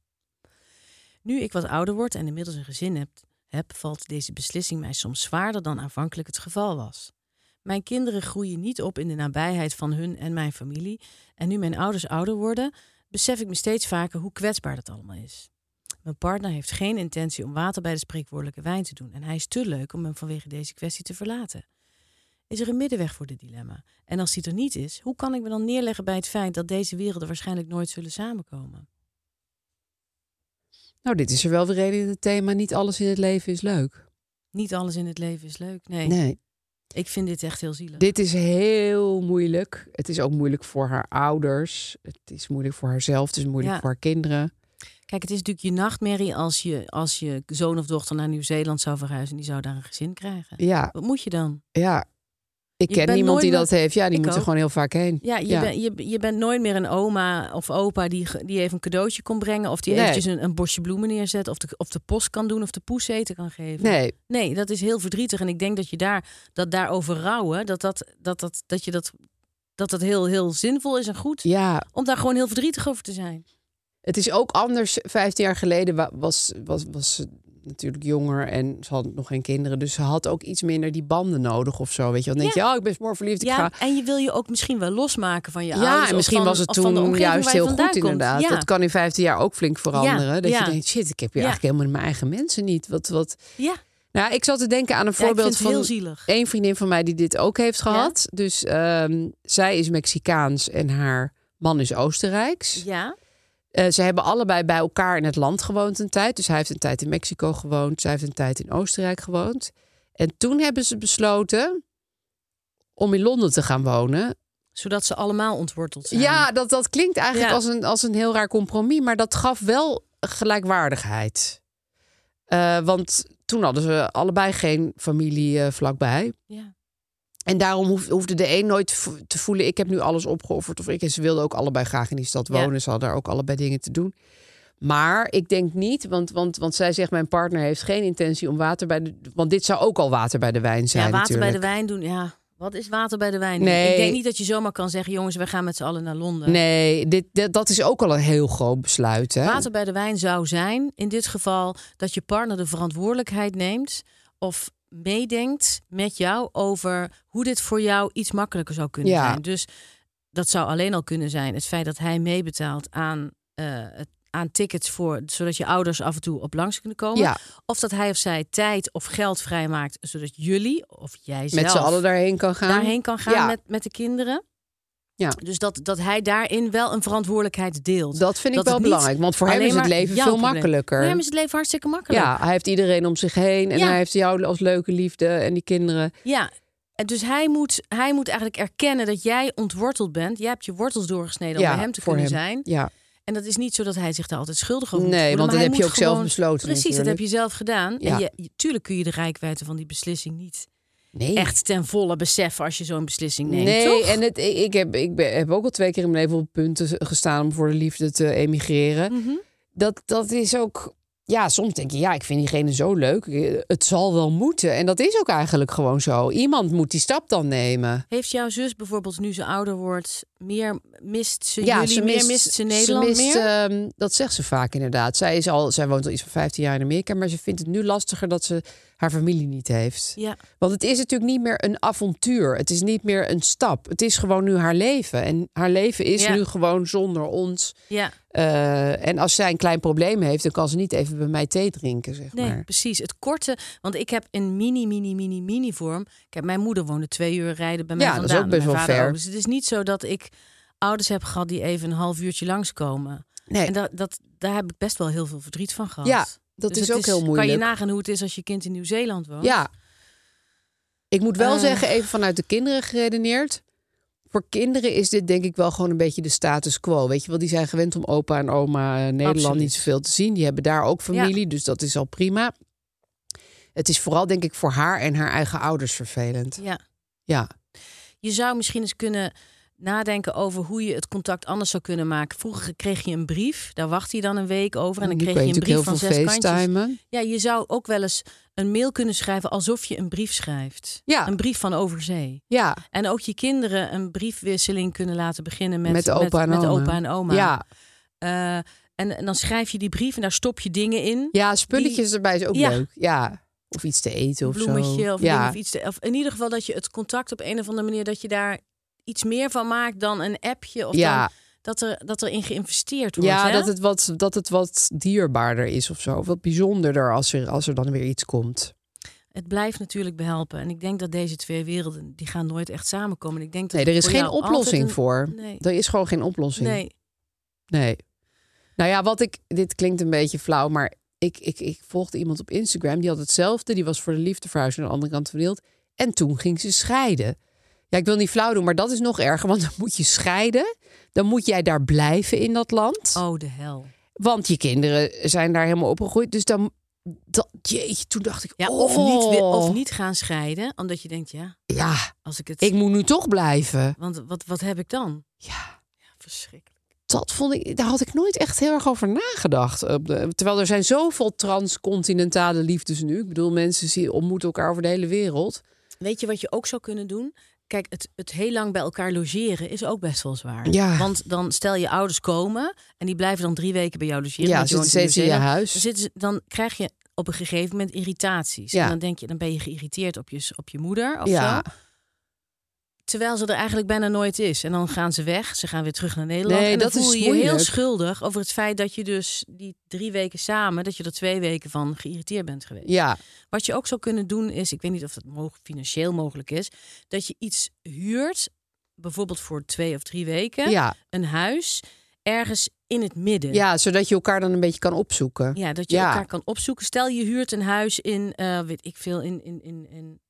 B: Nu ik wat ouder word en inmiddels een gezin heb, heb valt deze beslissing mij soms zwaarder dan aanvankelijk het geval was. Mijn kinderen groeien niet op in de nabijheid van hun en mijn familie. En nu mijn ouders ouder worden, besef ik me steeds vaker hoe kwetsbaar dat allemaal is. Mijn partner heeft geen intentie om water bij de spreekwoordelijke wijn te doen. En hij is te leuk om hem vanwege deze kwestie te verlaten. Is er een middenweg voor dit dilemma? En als die er niet is, hoe kan ik me dan neerleggen bij het feit dat deze werelden waarschijnlijk nooit zullen samenkomen?
C: Nou, dit is er wel weer reden in het thema. Niet alles in het leven is leuk.
B: Niet alles in het leven is leuk. Nee.
C: Nee.
B: Ik vind dit echt heel zielig.
C: Dit is heel moeilijk. Het is ook moeilijk voor haar ouders. Het is moeilijk voor haarzelf. Het is moeilijk
B: Ja.
C: voor haar kinderen.
B: Kijk, het is natuurlijk je nachtmerrie als je, als je zoon of dochter naar Nieuw-Zeeland zou verhuizen en die zou daar een gezin krijgen.
C: Ja,
B: Wat moet je dan?
C: ja. Ik
B: Je
C: ken
B: bent
C: niemand
B: nooit
C: die
B: meer-
C: dat heeft. Ja, die
B: Ik
C: moeten
B: ook.
C: gewoon heel vaak heen.
B: Ja, je,
C: Ja.
B: ben- je, je bent nooit meer een oma of opa die, ge- die even een cadeautje kon brengen. Of die
C: Nee.
B: eventjes een, een bosje bloemen neerzet. Of de, of de post kan doen of de poes eten kan geven.
C: Nee,
B: Nee, dat is heel verdrietig. En ik denk dat je daar, dat daarover rouwen, dat dat, dat, dat, dat, je dat, dat, dat heel, heel zinvol is en goed.
C: ja,
B: Om daar gewoon heel verdrietig over te zijn.
C: Het is ook anders. 15 jaar geleden wa- was, was, was ze natuurlijk jonger en ze had nog geen kinderen. Dus ze had ook iets minder die banden nodig of zo. Weet je, dan denk je, oh, ik ben smoor verliefd. Ik
B: Ja,
C: ga...
B: en je wil je ook misschien wel losmaken van je ouders.
C: Ja, en
B: of
C: misschien
B: van-
C: was het
B: of van de
C: toen
B: omgeving
C: juist
B: waar je
C: heel
B: vandaan
C: goed,
B: komt.
C: inderdaad.
B: Ja,
C: Dat kan in 15 jaar ook flink veranderen. dat
B: ja.
C: je denkt, shit, ik heb hier
B: Ja.
C: eigenlijk helemaal mijn eigen mensen niet. Wat, wat...
B: ja.
C: Nou, ik zat te denken aan een
B: ja ik vind
C: voorbeeld
B: het heel
C: van
B: zielig.
C: één vriendin van mij die dit ook heeft gehad. Dus ehm, zij is Mexicaans en haar man is Oostenrijks.
B: Ja,
C: Eh, ze hebben allebei bij elkaar in het land gewoond een tijd. Dus hij heeft een tijd in Mexico gewoond. Zij heeft een tijd in Oostenrijk gewoond. En toen hebben ze besloten om in Londen te gaan wonen.
B: zodat ze allemaal ontworteld zijn.
C: Ja, dat, dat klinkt eigenlijk
B: Ja.
C: als, een, als een heel raar compromis. Maar dat gaf wel gelijkwaardigheid. Eh, want toen hadden ze allebei geen familie eh, vlakbij.
B: Ja.
C: En daarom hoef- hoefde de een nooit vo- te voelen: ik heb nu alles opgeofferd. Of ik. En ze wilden ook allebei graag in die stad
B: Ja.
C: wonen. Ze hadden daar ook allebei dingen te doen. Maar ik denk niet, want, want, want zij zegt: mijn partner heeft geen intentie om water bij de. Want dit zou ook al water bij de wijn zijn.
B: ja, water bij de
C: natuurlijk.
B: wijn doen. Ja, wat is water bij de wijn? doen?
C: Nee.
B: Ik denk niet dat je zomaar kan zeggen, jongens, we gaan met z'n allen naar Londen.
C: Nee, dit, dit- dat is ook al een heel groot besluit. Hè?
B: Water bij de wijn zou zijn, in dit geval, dat je partner de verantwoordelijkheid neemt of meedenkt met jou over hoe dit voor jou iets makkelijker zou kunnen
C: Ja.
B: zijn. Dus dat zou alleen al kunnen zijn het feit dat hij meebetaalt aan, eh, het- aan tickets voor, zodat je ouders af en toe op langs kunnen komen.
C: Ja,
B: Of dat hij of zij tijd of geld vrijmaakt, zodat jullie of jij zelf
C: met z'n allen daarheen kan gaan.
B: daarheen kan gaan
C: Ja.
B: met, met de kinderen.
C: Ja.
B: Dus dat, dat hij daarin wel een verantwoordelijkheid deelt.
C: Dat vind ik
B: het
C: wel
B: niet
C: belangrijk, want voor hem
B: alleen
C: is het
B: maar
C: leven
B: jouw
C: veel
B: probleem.
C: makkelijker.
B: Voor hem is het leven hartstikke makkelijk.
C: Ja, hij heeft iedereen om zich heen en
B: Ja.
C: hij heeft jou als leuke liefde en die kinderen.
B: Ja. En dus hij moet, hij moet eigenlijk erkennen dat jij ontworteld bent. Jij hebt je wortels doorgesneden om
C: ja,
B: bij hem te
C: voor
B: kunnen
C: hem.
B: zijn.
C: Ja.
B: En dat is niet zo dat hij zich daar altijd schuldig over moet
C: Nee,
B: voelen,
C: want
B: maar
C: dat
B: hij
C: heb je
B: moet
C: ook zelf
B: gewoon-
C: besloten
B: Precies, dat
C: natuurlijk.
B: heb je zelf gedaan.
C: Ja.
B: En je, je- tuurlijk kun je de rijkwijde van die beslissing niet
C: Nee.
B: echt ten volle beseffen als je zo'n beslissing neemt,
C: Nee,
B: toch?
C: en het, ik, ik heb, ik ben, heb ook al twee keer in mijn leven op punten gestaan om voor de liefde te emigreren.
B: Mhm.
C: dat, dat is ook. Ja, soms denk je, ja, ik vind diegene zo leuk. Het zal wel moeten. En dat is ook eigenlijk gewoon zo. Iemand moet die stap dan nemen.
B: Heeft jouw zus bijvoorbeeld, nu ze ouder wordt, meer mist ze
C: ja,
B: jullie, meer mist ze Nederland
C: mist,
B: meer?
C: ehm, dat zegt ze vaak inderdaad. Zij, is al, zij woont al iets van 15 jaar in Amerika, maar ze vindt het nu lastiger dat ze haar familie niet heeft.
B: ja.
C: Want het is natuurlijk niet meer een avontuur. Het is niet meer een stap. Het is gewoon nu haar leven. En haar leven is
B: Ja.
C: nu gewoon zonder ons.
B: ja.
C: Eh, en als zij een klein probleem heeft, dan kan ze niet even bij mij thee drinken, zeg
B: Nee,
C: maar.
B: precies. Het korte, want ik heb in mini, mini, mini, mini vorm. Kijk, mijn moeder woonde twee uur rijden bij mij
C: Ja, dat is
B: vandaan.
C: ook best
B: Mijn
C: wel
B: vader
C: ver.
B: ook. Dus het is niet zo dat ik ouders heb gehad die even een half uurtje langskomen.
C: Nee,
B: En dat, dat, daar heb ik best wel heel veel verdriet van gehad.
C: Ja, dat
B: Dus
C: is
B: het
C: ook heel moeilijk.
B: Kan je nagaan hoe het is als je kind in Nieuw-Zeeland woont?
C: Ja. Ik moet wel
B: Eh.
C: zeggen, even vanuit de kinderen geredeneerd. Voor kinderen is dit denk ik wel gewoon een beetje de status quo. Weet je wel, die zijn gewend om opa en oma eh, Nederland
B: Absoluut.
C: niet zoveel te zien. Die hebben daar ook familie, dus dat is al prima. Het is vooral denk ik voor haar en haar eigen ouders vervelend.
B: ja.
C: Ja,
B: Je zou misschien eens kunnen nadenken over hoe je het contact anders zou kunnen maken. Vroeger kreeg je een brief, daar wachtte je dan een week over. En dan
C: nu
B: kreeg
C: kun
B: je een
C: natuurlijk
B: brief
C: heel
B: van
C: veel
B: zes kantjes.
C: facetimen.
B: Ja, je zou ook wel eens een mail kunnen schrijven alsof je een brief schrijft.
C: Ja.
B: Een brief van overzee.
C: Ja,
B: En ook je kinderen een briefwisseling kunnen laten beginnen met,
C: Met opa en
B: met
C: oma.
B: opa en oma.
C: ja.
B: Eh, en, en dan schrijf je die brief en daar stop je dingen in.
C: ja spulletjes erbij is ook
B: Ja.
C: leuk. Ja, of iets te eten
B: Een
C: of
B: bloemetje
C: zo.
B: of,
C: ja.
B: ding of iets. te- of in ieder geval dat je het contact op een of andere manier... dat je daar iets meer van maakt dan een appje. Of
C: ja.
B: dan, dat, er, dat erin geïnvesteerd wordt.
C: Ja,
B: hè?
C: dat het, wat, dat het wat dierbaarder is of zo. Wat bijzonderder als er, als er dan weer iets komt.
B: Het blijft natuurlijk behelpen. En ik denk dat deze twee werelden... die gaan nooit echt samenkomen. En Ik denk dat
C: Nee, er
B: het
C: is
B: voor
C: geen
B: jou altijd
C: oplossing
B: een-
C: voor.
B: Nee.
C: Er is gewoon geen oplossing.
B: Nee,
C: Nee. Nou ja, wat ik. Dit klinkt een beetje flauw, maar ik, ik, ik volgde iemand op Instagram. Die had hetzelfde. Die was voor de liefde verhuisd naar de andere kant van de wereld. En toen ging ze scheiden. Ja, ik wil niet flauw doen, maar dat is nog erger. Want dan moet je scheiden. Dan moet jij daar blijven in dat land.
B: Oh, de hel.
C: Want je kinderen zijn daar helemaal opgegroeid. Dus dan... Dat, jeetje, toen dacht ik...
B: Ja, of, niet, weer-
C: oh,
B: of niet gaan scheiden, omdat je denkt, ja,
C: Ja,
B: als ik het...
C: ik moet nu toch blijven.
B: Want wat, wat heb ik dan?
C: Ja,
B: Ja, verschrikkelijk.
C: dat vond ik... Daar had ik nooit echt heel erg over nagedacht. Op de- Terwijl er zijn zoveel transcontinentale liefdes nu. Ik bedoel, mensen zie- ontmoeten elkaar over de hele wereld.
B: Weet je wat je ook zou kunnen doen? Kijk, het, het heel lang bij elkaar logeren is ook best wel zwaar.
C: Ja.
B: Want dan stel je ouders komen en die blijven dan drie weken bij jou logeren.
C: Ja,
B: want je
C: zitten
B: woont
C: steeds in je
B: Nieuw-Zeeland.
C: huis.
B: Dan, zitten Dus ze- dan krijg je op een gegeven moment irritaties.
C: Ja.
B: En dan denk je, dan ben je geïrriteerd op je, op je moeder of
C: ja.
B: zo. Terwijl ze er eigenlijk bijna nooit is. En dan gaan ze weg. Ze gaan weer terug naar Nederland.
C: Nee,
B: en dan
C: dat
B: voel
C: is
B: je je heel
C: moeilijk.
B: schuldig over het feit dat je dus die drie weken samen... dat je er twee weken van geïrriteerd bent geweest.
C: Ja,
B: Wat je ook zou kunnen doen is, ik weet niet of dat mo- financieel mogelijk is, dat je iets huurt, bijvoorbeeld voor twee of drie weken,
C: ja,
B: een huis ergens in het midden.
C: ja, zodat je elkaar dan een beetje kan opzoeken.
B: Ja, dat je
C: Ja.
B: elkaar kan opzoeken. Stel je huurt een huis in, eh, weet ik veel, in, in, in, in.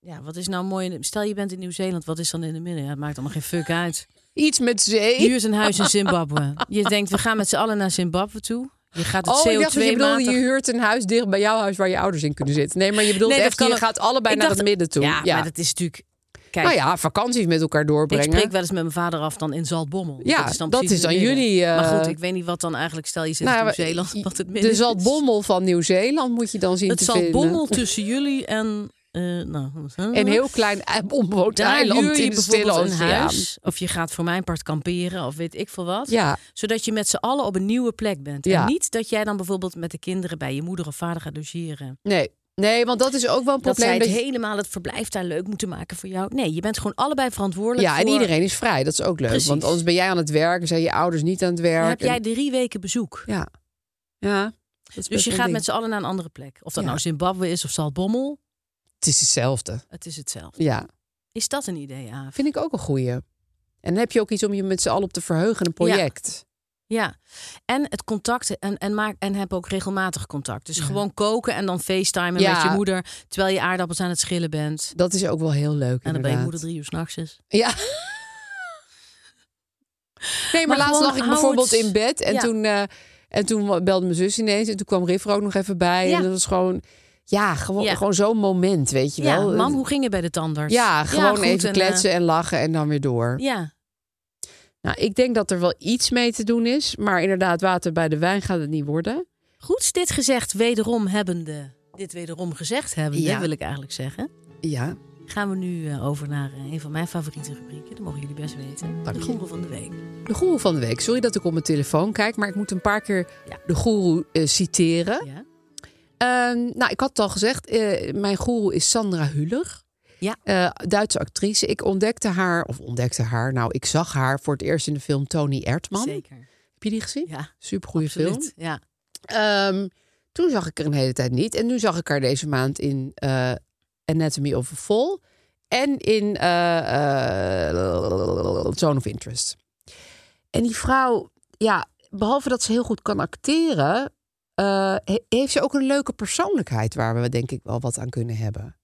B: Ja, wat is nou mooi? in- Stel je bent in Nieuw-Zeeland, wat is dan in het midden? Ja, het maakt allemaal geen fuck uit.
C: Iets met zee.
B: Je huurt een huis in Zimbabwe. Je denkt, we gaan met z'n allen naar Zimbabwe toe. Je gaat het
C: Oh, ik dacht dat je bedoelde,
B: CO2-matig
C: je huurt een huis dicht bij jouw huis waar je ouders in kunnen zitten. Nee, maar je bedoelt
B: Nee, dat
C: echt,
B: kan
C: je
B: ook.
C: gaat allebei
B: Ik
C: naar
B: dacht-
C: het midden toe.
B: Ja, maar dat is natuurlijk. Kijk,
C: nou ja, vakanties met elkaar doorbrengen.
B: Ik spreek wel eens met mijn vader af dan in Zaltbommel.
C: Ja, dat
B: precies
C: is dan
B: in het midden.
C: jullie, eh,
B: Maar goed, ik weet niet wat dan eigenlijk... Stel je zit
C: Nou ja,
B: in Nieuw-Zeeland,
C: maar-
B: wat het midden
C: de
B: is.
C: zaltbommel van Nieuw-Zeeland moet je dan zien
B: Het
C: te vinden.
B: Zaltbommel tussen jullie en... eh nou,
C: Een heel klein eh, onbewoond
B: Daar huur
C: eiland
B: je
C: in de stille
B: bijvoorbeeld een
C: oceaan.
B: huis. Of je gaat voor mijn part kamperen of weet ik veel wat.
C: Ja,
B: Zodat je met z'n allen op een nieuwe plek bent.
C: Ja.
B: En niet dat jij dan bijvoorbeeld met de kinderen bij je moeder of vader gaat logeren.
C: nee. Nee, want dat is ook wel een
B: Dat zij
C: probleem.
B: het
C: je-
B: helemaal het verblijf daar leuk moeten maken voor jou. Nee, je bent gewoon allebei verantwoordelijk
C: ja,
B: voor...
C: en iedereen is vrij. Dat is ook leuk.
B: Precies.
C: Want anders ben jij aan het werk, zijn je ouders niet aan het werk.
B: Dan heb jij
C: En-
B: drie weken bezoek.
C: Ja. Ja. dat is
B: Dus
C: best
B: je
C: een
B: gaat
C: ding.
B: met z'n allen naar een andere plek. Of dat
C: Ja.
B: nou Zimbabwe is of Zaltbommel,
C: Het is hetzelfde.
B: het is hetzelfde.
C: Ja,
B: Is dat een idee, Aaf?
C: vind ik ook een goeie. En dan heb je ook iets om je met z'n allen op te verheugen, een project.
B: Ja. En het contacten en, en, maak, en heb ook regelmatig contact. Dus gewoon koken en dan facetimen
C: Ja.
B: met je moeder... terwijl je aardappels aan het schillen bent.
C: Dat is ook wel heel leuk.
B: En Nou, dan ben je
C: inderdaad.
B: moeder drie uur s'nachts is.
C: Ja. Nee, maar,
B: Maar
C: laatst
B: gewoon
C: lag ik
B: hou
C: bijvoorbeeld
B: het-
C: in bed en
B: Ja.
C: toen, eh, en toen belde mijn zus ineens en toen kwam Riff er ook nog even bij.
B: Ja.
C: En dat was gewoon, ja, gewoon,
B: Ja.
C: gewoon zo'n moment, weet je
B: Ja,
C: wel.
B: mam, hoe ging het bij de tandarts?
C: ja, gewoon
B: goed,
C: even
B: en, eh,
C: kletsen en lachen en dan weer door.
B: ja,
C: Nou, ik denk dat er wel iets mee te doen is, maar inderdaad, water bij de wijn gaat het niet worden.
B: goed dit gezegd wederom hebbende... Dit wederom gezegd hebbende,
C: Ja.
B: wil ik eigenlijk zeggen.
C: Ja,
B: Gaan we nu eh, over naar eh, een van mijn favoriete rubrieken. Dat mogen jullie best weten.
C: Dank
B: de
C: je.
B: goede van de week.
C: De goeroe van de week. Sorry dat ik op mijn telefoon kijk, maar ik moet een paar keer
B: Ja.
C: de goeroe eh, citeren.
B: Ja.
C: Ehm, nou, ik had het al gezegd, eh, mijn goeroe is Sandra Hüller.
B: Ja.
C: Eh, Duitse actrice. Ik ontdekte haar, of ontdekte haar, nou, ik zag haar voor het eerst in de film Tony Erdman.
B: Zeker.
C: Heb je die gezien?
B: Ja,
C: Supergoeie film.
B: absoluut. Ja.
C: Ehm, toen zag ik haar een hele tijd niet. En nu zag ik haar deze maand in eh, Anatomy of a Fall. En in eh, eh, Zone of Interest. En die vrouw, ja, behalve dat ze heel goed kan acteren... eh, he- heeft ze ook een leuke persoonlijkheid... waar we denk ik wel wat aan kunnen hebben.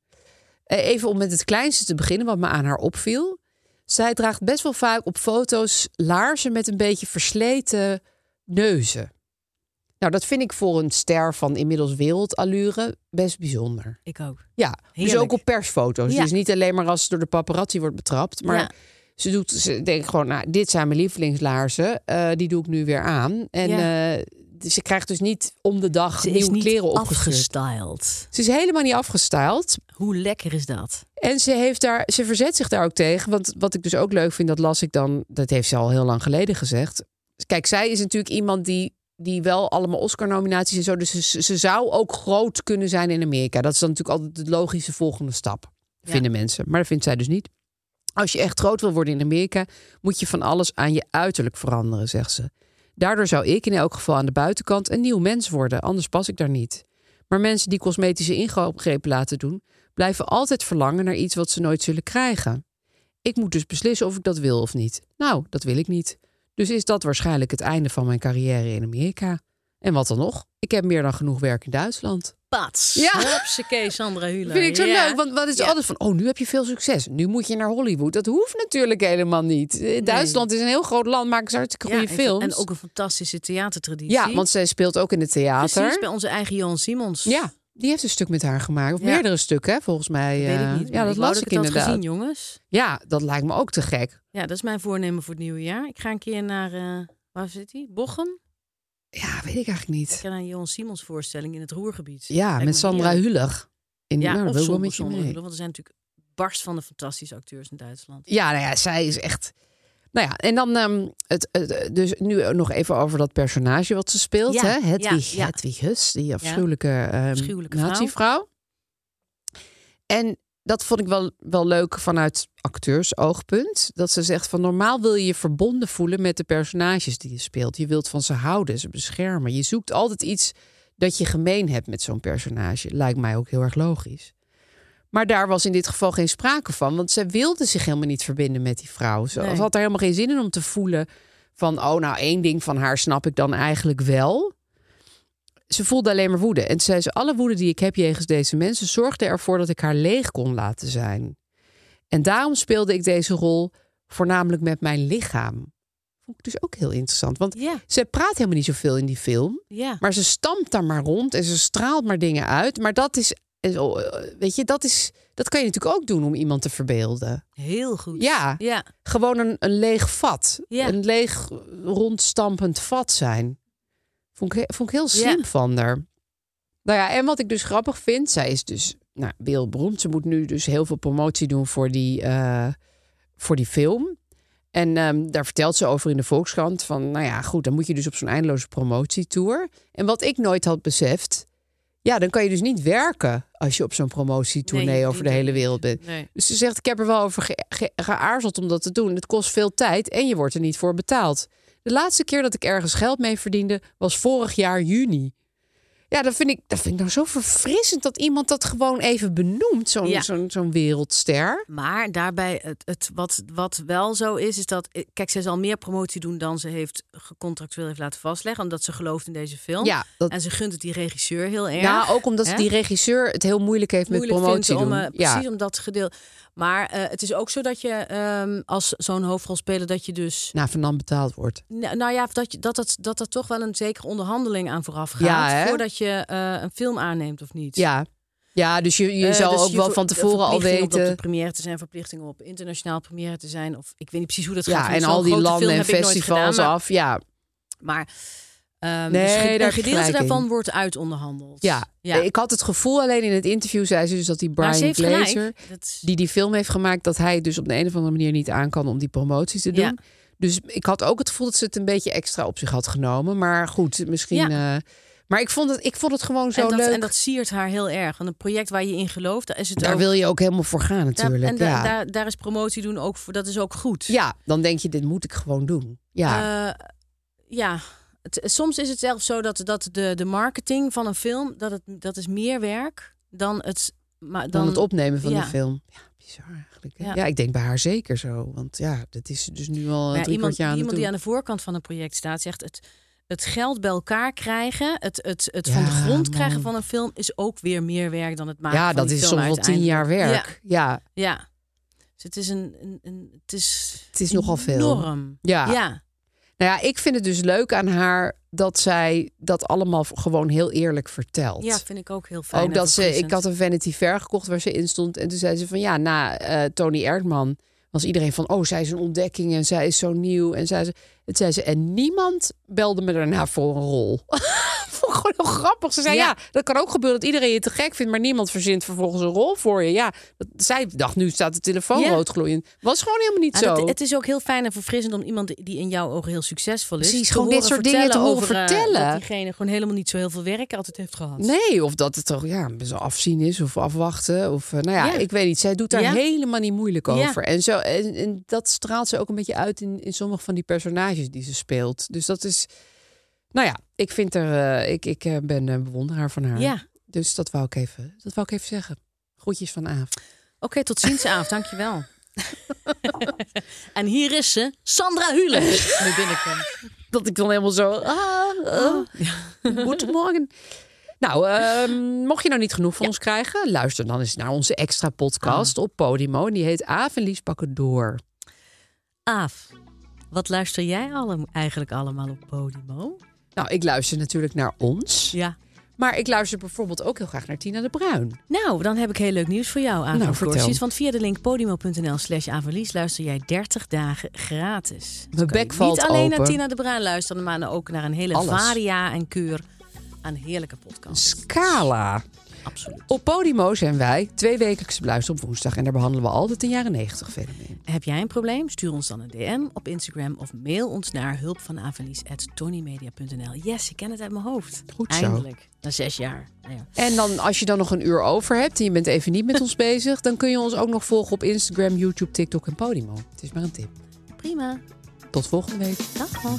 C: Eh, even om met het kleinste te beginnen, wat me aan haar opviel. Zij draagt best wel vaak op foto's laarzen met een beetje versleten neuzen. Nou, dat vind ik voor een ster van inmiddels wereldallure best bijzonder.
B: Ik ook.
C: Ja, dus
B: Heerlijk.
C: ook op persfoto's.
B: Ja.
C: Dus niet alleen maar als ze door de paparazzi wordt betrapt. Maar
B: Ja.
C: ze, doet, ze denkt gewoon, nou, dit zijn mijn lievelingslaarzen. eh, die doe ik nu weer aan. En eh, ze krijgt dus niet om de dag
B: Ze
C: nieuwe
B: is niet
C: kleren opgestuurd.
B: afgestyled.
C: Ze is helemaal niet afgestyled.
B: Hoe lekker is dat?
C: En ze, heeft daar, ze verzet zich daar ook tegen. Want wat ik dus ook leuk vind, dat las ik dan... dat heeft ze al heel lang geleden gezegd. Kijk, zij is natuurlijk iemand die, die wel allemaal Oscar-nominaties en zo... dus ze, ze zou ook groot kunnen zijn in Amerika. Dat is dan natuurlijk altijd de logische volgende stap,
B: Ja.
C: vinden mensen. Maar dat vindt zij dus niet. Als je echt groot wil worden in Amerika... moet je van alles aan je uiterlijk veranderen, zegt ze. Daardoor zou ik in elk geval aan de buitenkant een nieuw mens worden. Anders pas ik daar niet. Maar mensen die cosmetische ingrepen laten doen, blijven altijd verlangen naar iets wat ze nooit zullen krijgen. Ik moet dus beslissen of ik dat wil of niet. Nou, dat wil ik niet. Dus is dat waarschijnlijk het einde van mijn carrière in Amerika. En wat dan nog? Ik heb meer dan genoeg werk in Duitsland.
B: Pats.
C: Ja.
B: Hopsakee, Sandra Hula.
C: Vind ik zo
B: Ja.
C: leuk, want wat is
B: Ja.
C: altijd van... oh, nu heb je veel succes, nu moet je naar Hollywood. Dat hoeft natuurlijk helemaal niet. Eh, Duitsland is een heel groot land, maken ze hartstikke goede
B: en-
C: films.
B: En ook een fantastische theatertraditie.
C: ja, want zij speelt ook in het theater.
B: Precies, bij onze eigen Johan Simons.
C: Ja, die heeft een stuk met haar gemaakt. Of
B: Ja.
C: meerdere stukken, hè, volgens mij.
B: Weet
C: eh,
B: ik niet.
C: ja, dat las ik,
B: het had
C: inderdaad.
B: gezien, jongens.
C: ja, dat lijkt me ook te gek.
B: Ja, dat is mijn voornemen voor het nieuwe jaar. Ik ga een keer naar, eh, waar zit hij? Bochum?
C: Ja, weet ik eigenlijk
B: Ik
C: niet.
B: ga naar een Johan Simons voorstelling in het Roergebied.
C: Ja,
B: Lijkt me
C: met Sandra
B: heerlijk.
C: Hulig. In
B: Ja,
C: nou, dat
B: of
C: wil ik wel
B: zonder
C: met je
B: Sandra
C: mee.
B: Hüller, Want er zijn natuurlijk barst van de fantastische acteurs in Duitsland.
C: Ja, nou ja, zij is echt. Nou ja, en dan ehm, het, het- dus nu nog even over dat personage wat ze speelt.
B: Ja,
C: hè? Hedwig,
B: ja, ja.
C: Hedwig Hus, die afschuwelijke, ehm
B: Afschuwelijke vrouw.
C: nazi-vrouw. En dat vond ik wel, wel leuk vanuit acteursoogpunt. Dat ze zegt van normaal wil je je verbonden voelen met de personages die je speelt. Je wilt van ze houden, ze beschermen. Je zoekt altijd iets dat je gemeen hebt met zo'n personage. Lijkt mij ook heel erg logisch. Maar daar was in dit geval geen sprake van. Want zij wilde zich helemaal niet verbinden met die vrouw. Ze
B: Nee.
C: had er helemaal geen zin in om te voelen van... oh, nou, één ding van haar snap ik dan eigenlijk wel. Ze voelde alleen maar woede. En toen zei ze, alle woede die ik heb jegens deze mensen... zorgde ervoor dat ik haar leeg kon laten zijn. En daarom speelde ik deze rol voornamelijk met mijn lichaam. Vond ik dus ook heel interessant. Want
B: Ja,
C: ze praat helemaal niet zoveel in die film.
B: ja.
C: Maar ze stampt daar maar rond en ze straalt maar dingen uit. Maar dat is, is- oh, eh, weet je, dat is, dat kan je natuurlijk ook doen om iemand te verbeelden.
B: Heel goed.
C: Ja.
B: ja.
C: Gewoon een, een leeg vat.
B: Ja.
C: Een leeg eh, rondstampend vat zijn. Vond ik, he- vond ik heel slim
B: Ja.
C: van haar. Nou ja, en wat ik dus grappig vind, zij is dus nou, wereldberoemd. Ze moet nu dus heel veel promotie doen voor die, eh, voor die film. En ehm, daar vertelt ze over in de Volkskrant van, nou ja, goed, dan moet je dus op zo'n eindeloze promotietour. En wat ik nooit had beseft, ja, dan kan je dus niet werken als je op zo'n promotietournee
B: Nee, je
C: over de
B: doet
C: hele
B: het niet.
C: wereld bent.
B: Nee.
C: Dus ze zegt, ik heb er wel over ge- ge- geaarzeld om dat te doen. Het kost veel tijd en je wordt er niet voor betaald. De laatste keer dat ik ergens geld mee verdiende was vorig jaar juni. Ja, dat vind ik, dat vind ik nou zo verfrissend dat iemand dat gewoon even benoemt, zo'n
B: Ja.
C: zo'n zo'n wereldster.
B: Maar daarbij, het, het, wat, wat wel zo is, is dat... eh, Kijk, zij zal meer promotie doen dan ze heeft gecontractueel heeft laten vastleggen. Omdat ze gelooft in deze film.
C: Ja, dat-
B: En ze gunt het die regisseur heel erg.
C: Ja, Nou, ook omdat
B: hè?
C: die regisseur het heel moeilijk heeft
B: moeilijk
C: met promotie
B: vindt om,
C: doen.
B: eh,
C: ja.
B: precies om dat gedeelte. Maar eh, het is ook zo dat je ehm, als zo'n hoofdrolspeler... dat je dus
C: Nou, van dan betaald wordt.
B: Nou nou ja, dat, je- dat, dat, dat er toch wel een zekere onderhandeling aan vooraf gaat.
C: Ja, hè?
B: voordat je eh, een film aanneemt of niet.
C: Ja. Ja, dus je, je
B: Eh,
C: zou
B: dus
C: ook
B: je
C: wel
B: ver-
C: van tevoren al
B: verplichting Om op
C: weten.
B: de première te zijn, verplichting om op internationaal première te zijn. Of ik weet niet precies hoe dat gaat.
C: Ja,
B: want
C: en
B: zo'n
C: al die
B: grote
C: landen
B: film
C: en
B: heb ik nooit
C: festivals
B: gedaan,
C: af. Ja,
B: Maar, maar ehm,
C: Nee,
B: dus ge-
C: daar heb je
B: een gedeelte
C: gelijk in.
B: daarvan wordt uitonderhandeld.
C: Ja. ik had het gevoel alleen in het interview zei ze dus dat die
B: maar ze
C: Brian
B: heeft gelijk.
C: Glazer,
B: Dat is-
C: die die film heeft gemaakt, dat hij dus op de een of andere manier niet aan kan om die promotie te doen.
B: Ja.
C: Dus ik had ook het gevoel dat ze het een beetje extra op zich had genomen. Maar goed, misschien. eh, maar ik vond, het, ik vond het gewoon zo
B: en, dat,
C: leuk.
B: en dat siert haar heel erg. Want een project waar je in gelooft, daar is het
C: Daar
B: ook...
C: wil je ook helemaal voor gaan
B: daar-
C: natuurlijk.
B: en daar-
C: ja.
B: daar, daar is promotie doen ook voor. Dat is ook goed.
C: ja, dan denk je, dit moet ik gewoon doen. Ja,
B: Eh, ja. Het- soms is het zelfs zo dat, dat de, de marketing van een film, dat, het, dat is meer werk dan het... Maar dan,
C: dan, het opnemen van
B: ja.
C: die film. Ja, bizar eigenlijk. hè? Ja.
B: Ja.
C: ik denk bij haar zeker zo. Want ja, dat is dus nu al
B: Maar
C: een
B: ja,
C: drie
B: iemand
C: kwart jaar aan
B: iemand
C: het
B: die
C: doen.
B: aan de voorkant van een project staat, zegt het, het geld bij elkaar krijgen, het, het, het
C: Ja,
B: van de grond
C: man.
B: krijgen van een film, is ook weer meer werk dan het maken
C: Ja,
B: van
C: dat
B: die
C: is
B: film
C: soms wel tien jaar
B: uiteindelijk.
C: werk. ja.
B: Ja, ja. Dus het is een... een, een het, is
C: Het is nogal veel.
B: Enorm.
C: Ja.
B: ja.
C: Nou ja, ik vind het dus leuk aan haar dat zij dat allemaal v- gewoon heel eerlijk vertelt.
B: Ja, vind ik ook heel fijn.
C: ook
B: en
C: dat ze, ik
B: verfrissend.
C: had een Vanity Fair gekocht waar ze in stond. En toen zei ze van ja, na eh, Tony Erdman was iedereen van oh, zij is een ontdekking en zij is zo nieuw. En zei ze, het zei ze, en niemand belde me daarna voor een rol. Vond ik gewoon heel grappig. Ze zei ja.
B: Ja.
C: dat kan ook gebeuren dat iedereen je te gek vindt, maar niemand verzint vervolgens een rol voor je. Ja, dat, zij dacht nu staat de telefoon
B: Ja.
C: roodgloeiend. Was gewoon helemaal niet
B: Ja,
C: zo.
B: Ah, dat- het is ook heel fijn en verfrissend om iemand die in jouw ogen heel succesvol is.
C: Precies,
B: te
C: gewoon dit
B: horen
C: soort dingen te
B: vertellen
C: horen
B: over, eh,
C: vertellen.
B: Dat diegene gewoon helemaal niet zo heel veel werk altijd heeft gehad.
C: Nee, of dat het toch ja, best wel afzien is of afwachten. Of eh, nou ja,
B: Ja.
C: ik weet niet. Zij doet daar
B: Ja.
C: helemaal niet moeilijk
B: Ja.
C: over. En, zo, en, en dat straalt ze ook een beetje uit in, in sommige van die personages die ze speelt. Dus dat is. Nou ja, ik vind er. eh, ik ik eh, ben eh, bewonderaar van haar.
B: Ja.
C: Dus dat wou ik even, dat wou ik even zeggen. Groetjes van Aaf.
B: Oké, tot ziens Aaf, dankjewel. en hier is ze, Sandra Hulen, die binnenkomt.
C: dat ik dan helemaal zo... Ah, ah, Goedemorgen. Nou, ehm, mocht je nou niet genoeg van ons krijgen... luister dan eens naar onze extra
B: Ah.
C: podcast op Podimo. En die heet Aaf en Lies pakken door.
B: Aaf, wat luister jij allem, eigenlijk allemaal op Podimo?
C: Nou, ik luister natuurlijk naar ons.
B: Ja.
C: Maar ik luister bijvoorbeeld ook heel graag naar Tina de Bruin.
B: Nou, dan heb ik heel leuk nieuws voor jou, Aaf.
C: Nou,
B: van
C: vertel.
B: Corsies. Want via de link podimo.nl slash Averlies luister jij 30 dagen gratis. Dus
C: Mijn
B: kan je
C: bek valt
B: Niet alleen
C: open.
B: naar Tina de Bruin luisteren, maar ook naar een hele
C: Alles.
B: varia en keur aan heerlijke podcasts.
C: Scala.
B: Absoluut.
C: Op Podimo zijn wij twee wekelijks te beluisteren op woensdag. En daar behandelen we altijd een jaren negentig fenomeen.
B: Heb jij een probleem? Stuur ons dan een DM op Instagram of mail ons naar hulpvanavelies.tonymedia.nl. Yes, ik ken het uit mijn hoofd.
C: Goed zo.
B: Eindelijk, na zes jaar. Nou ja.
C: En dan, als je dan nog een uur over hebt en je bent even niet met ons bezig... dan kun je ons ook nog volgen op Instagram, YouTube, TikTok en Podimo. Het is maar een tip.
B: Prima.
C: Tot volgende week.
B: Dag. hoor.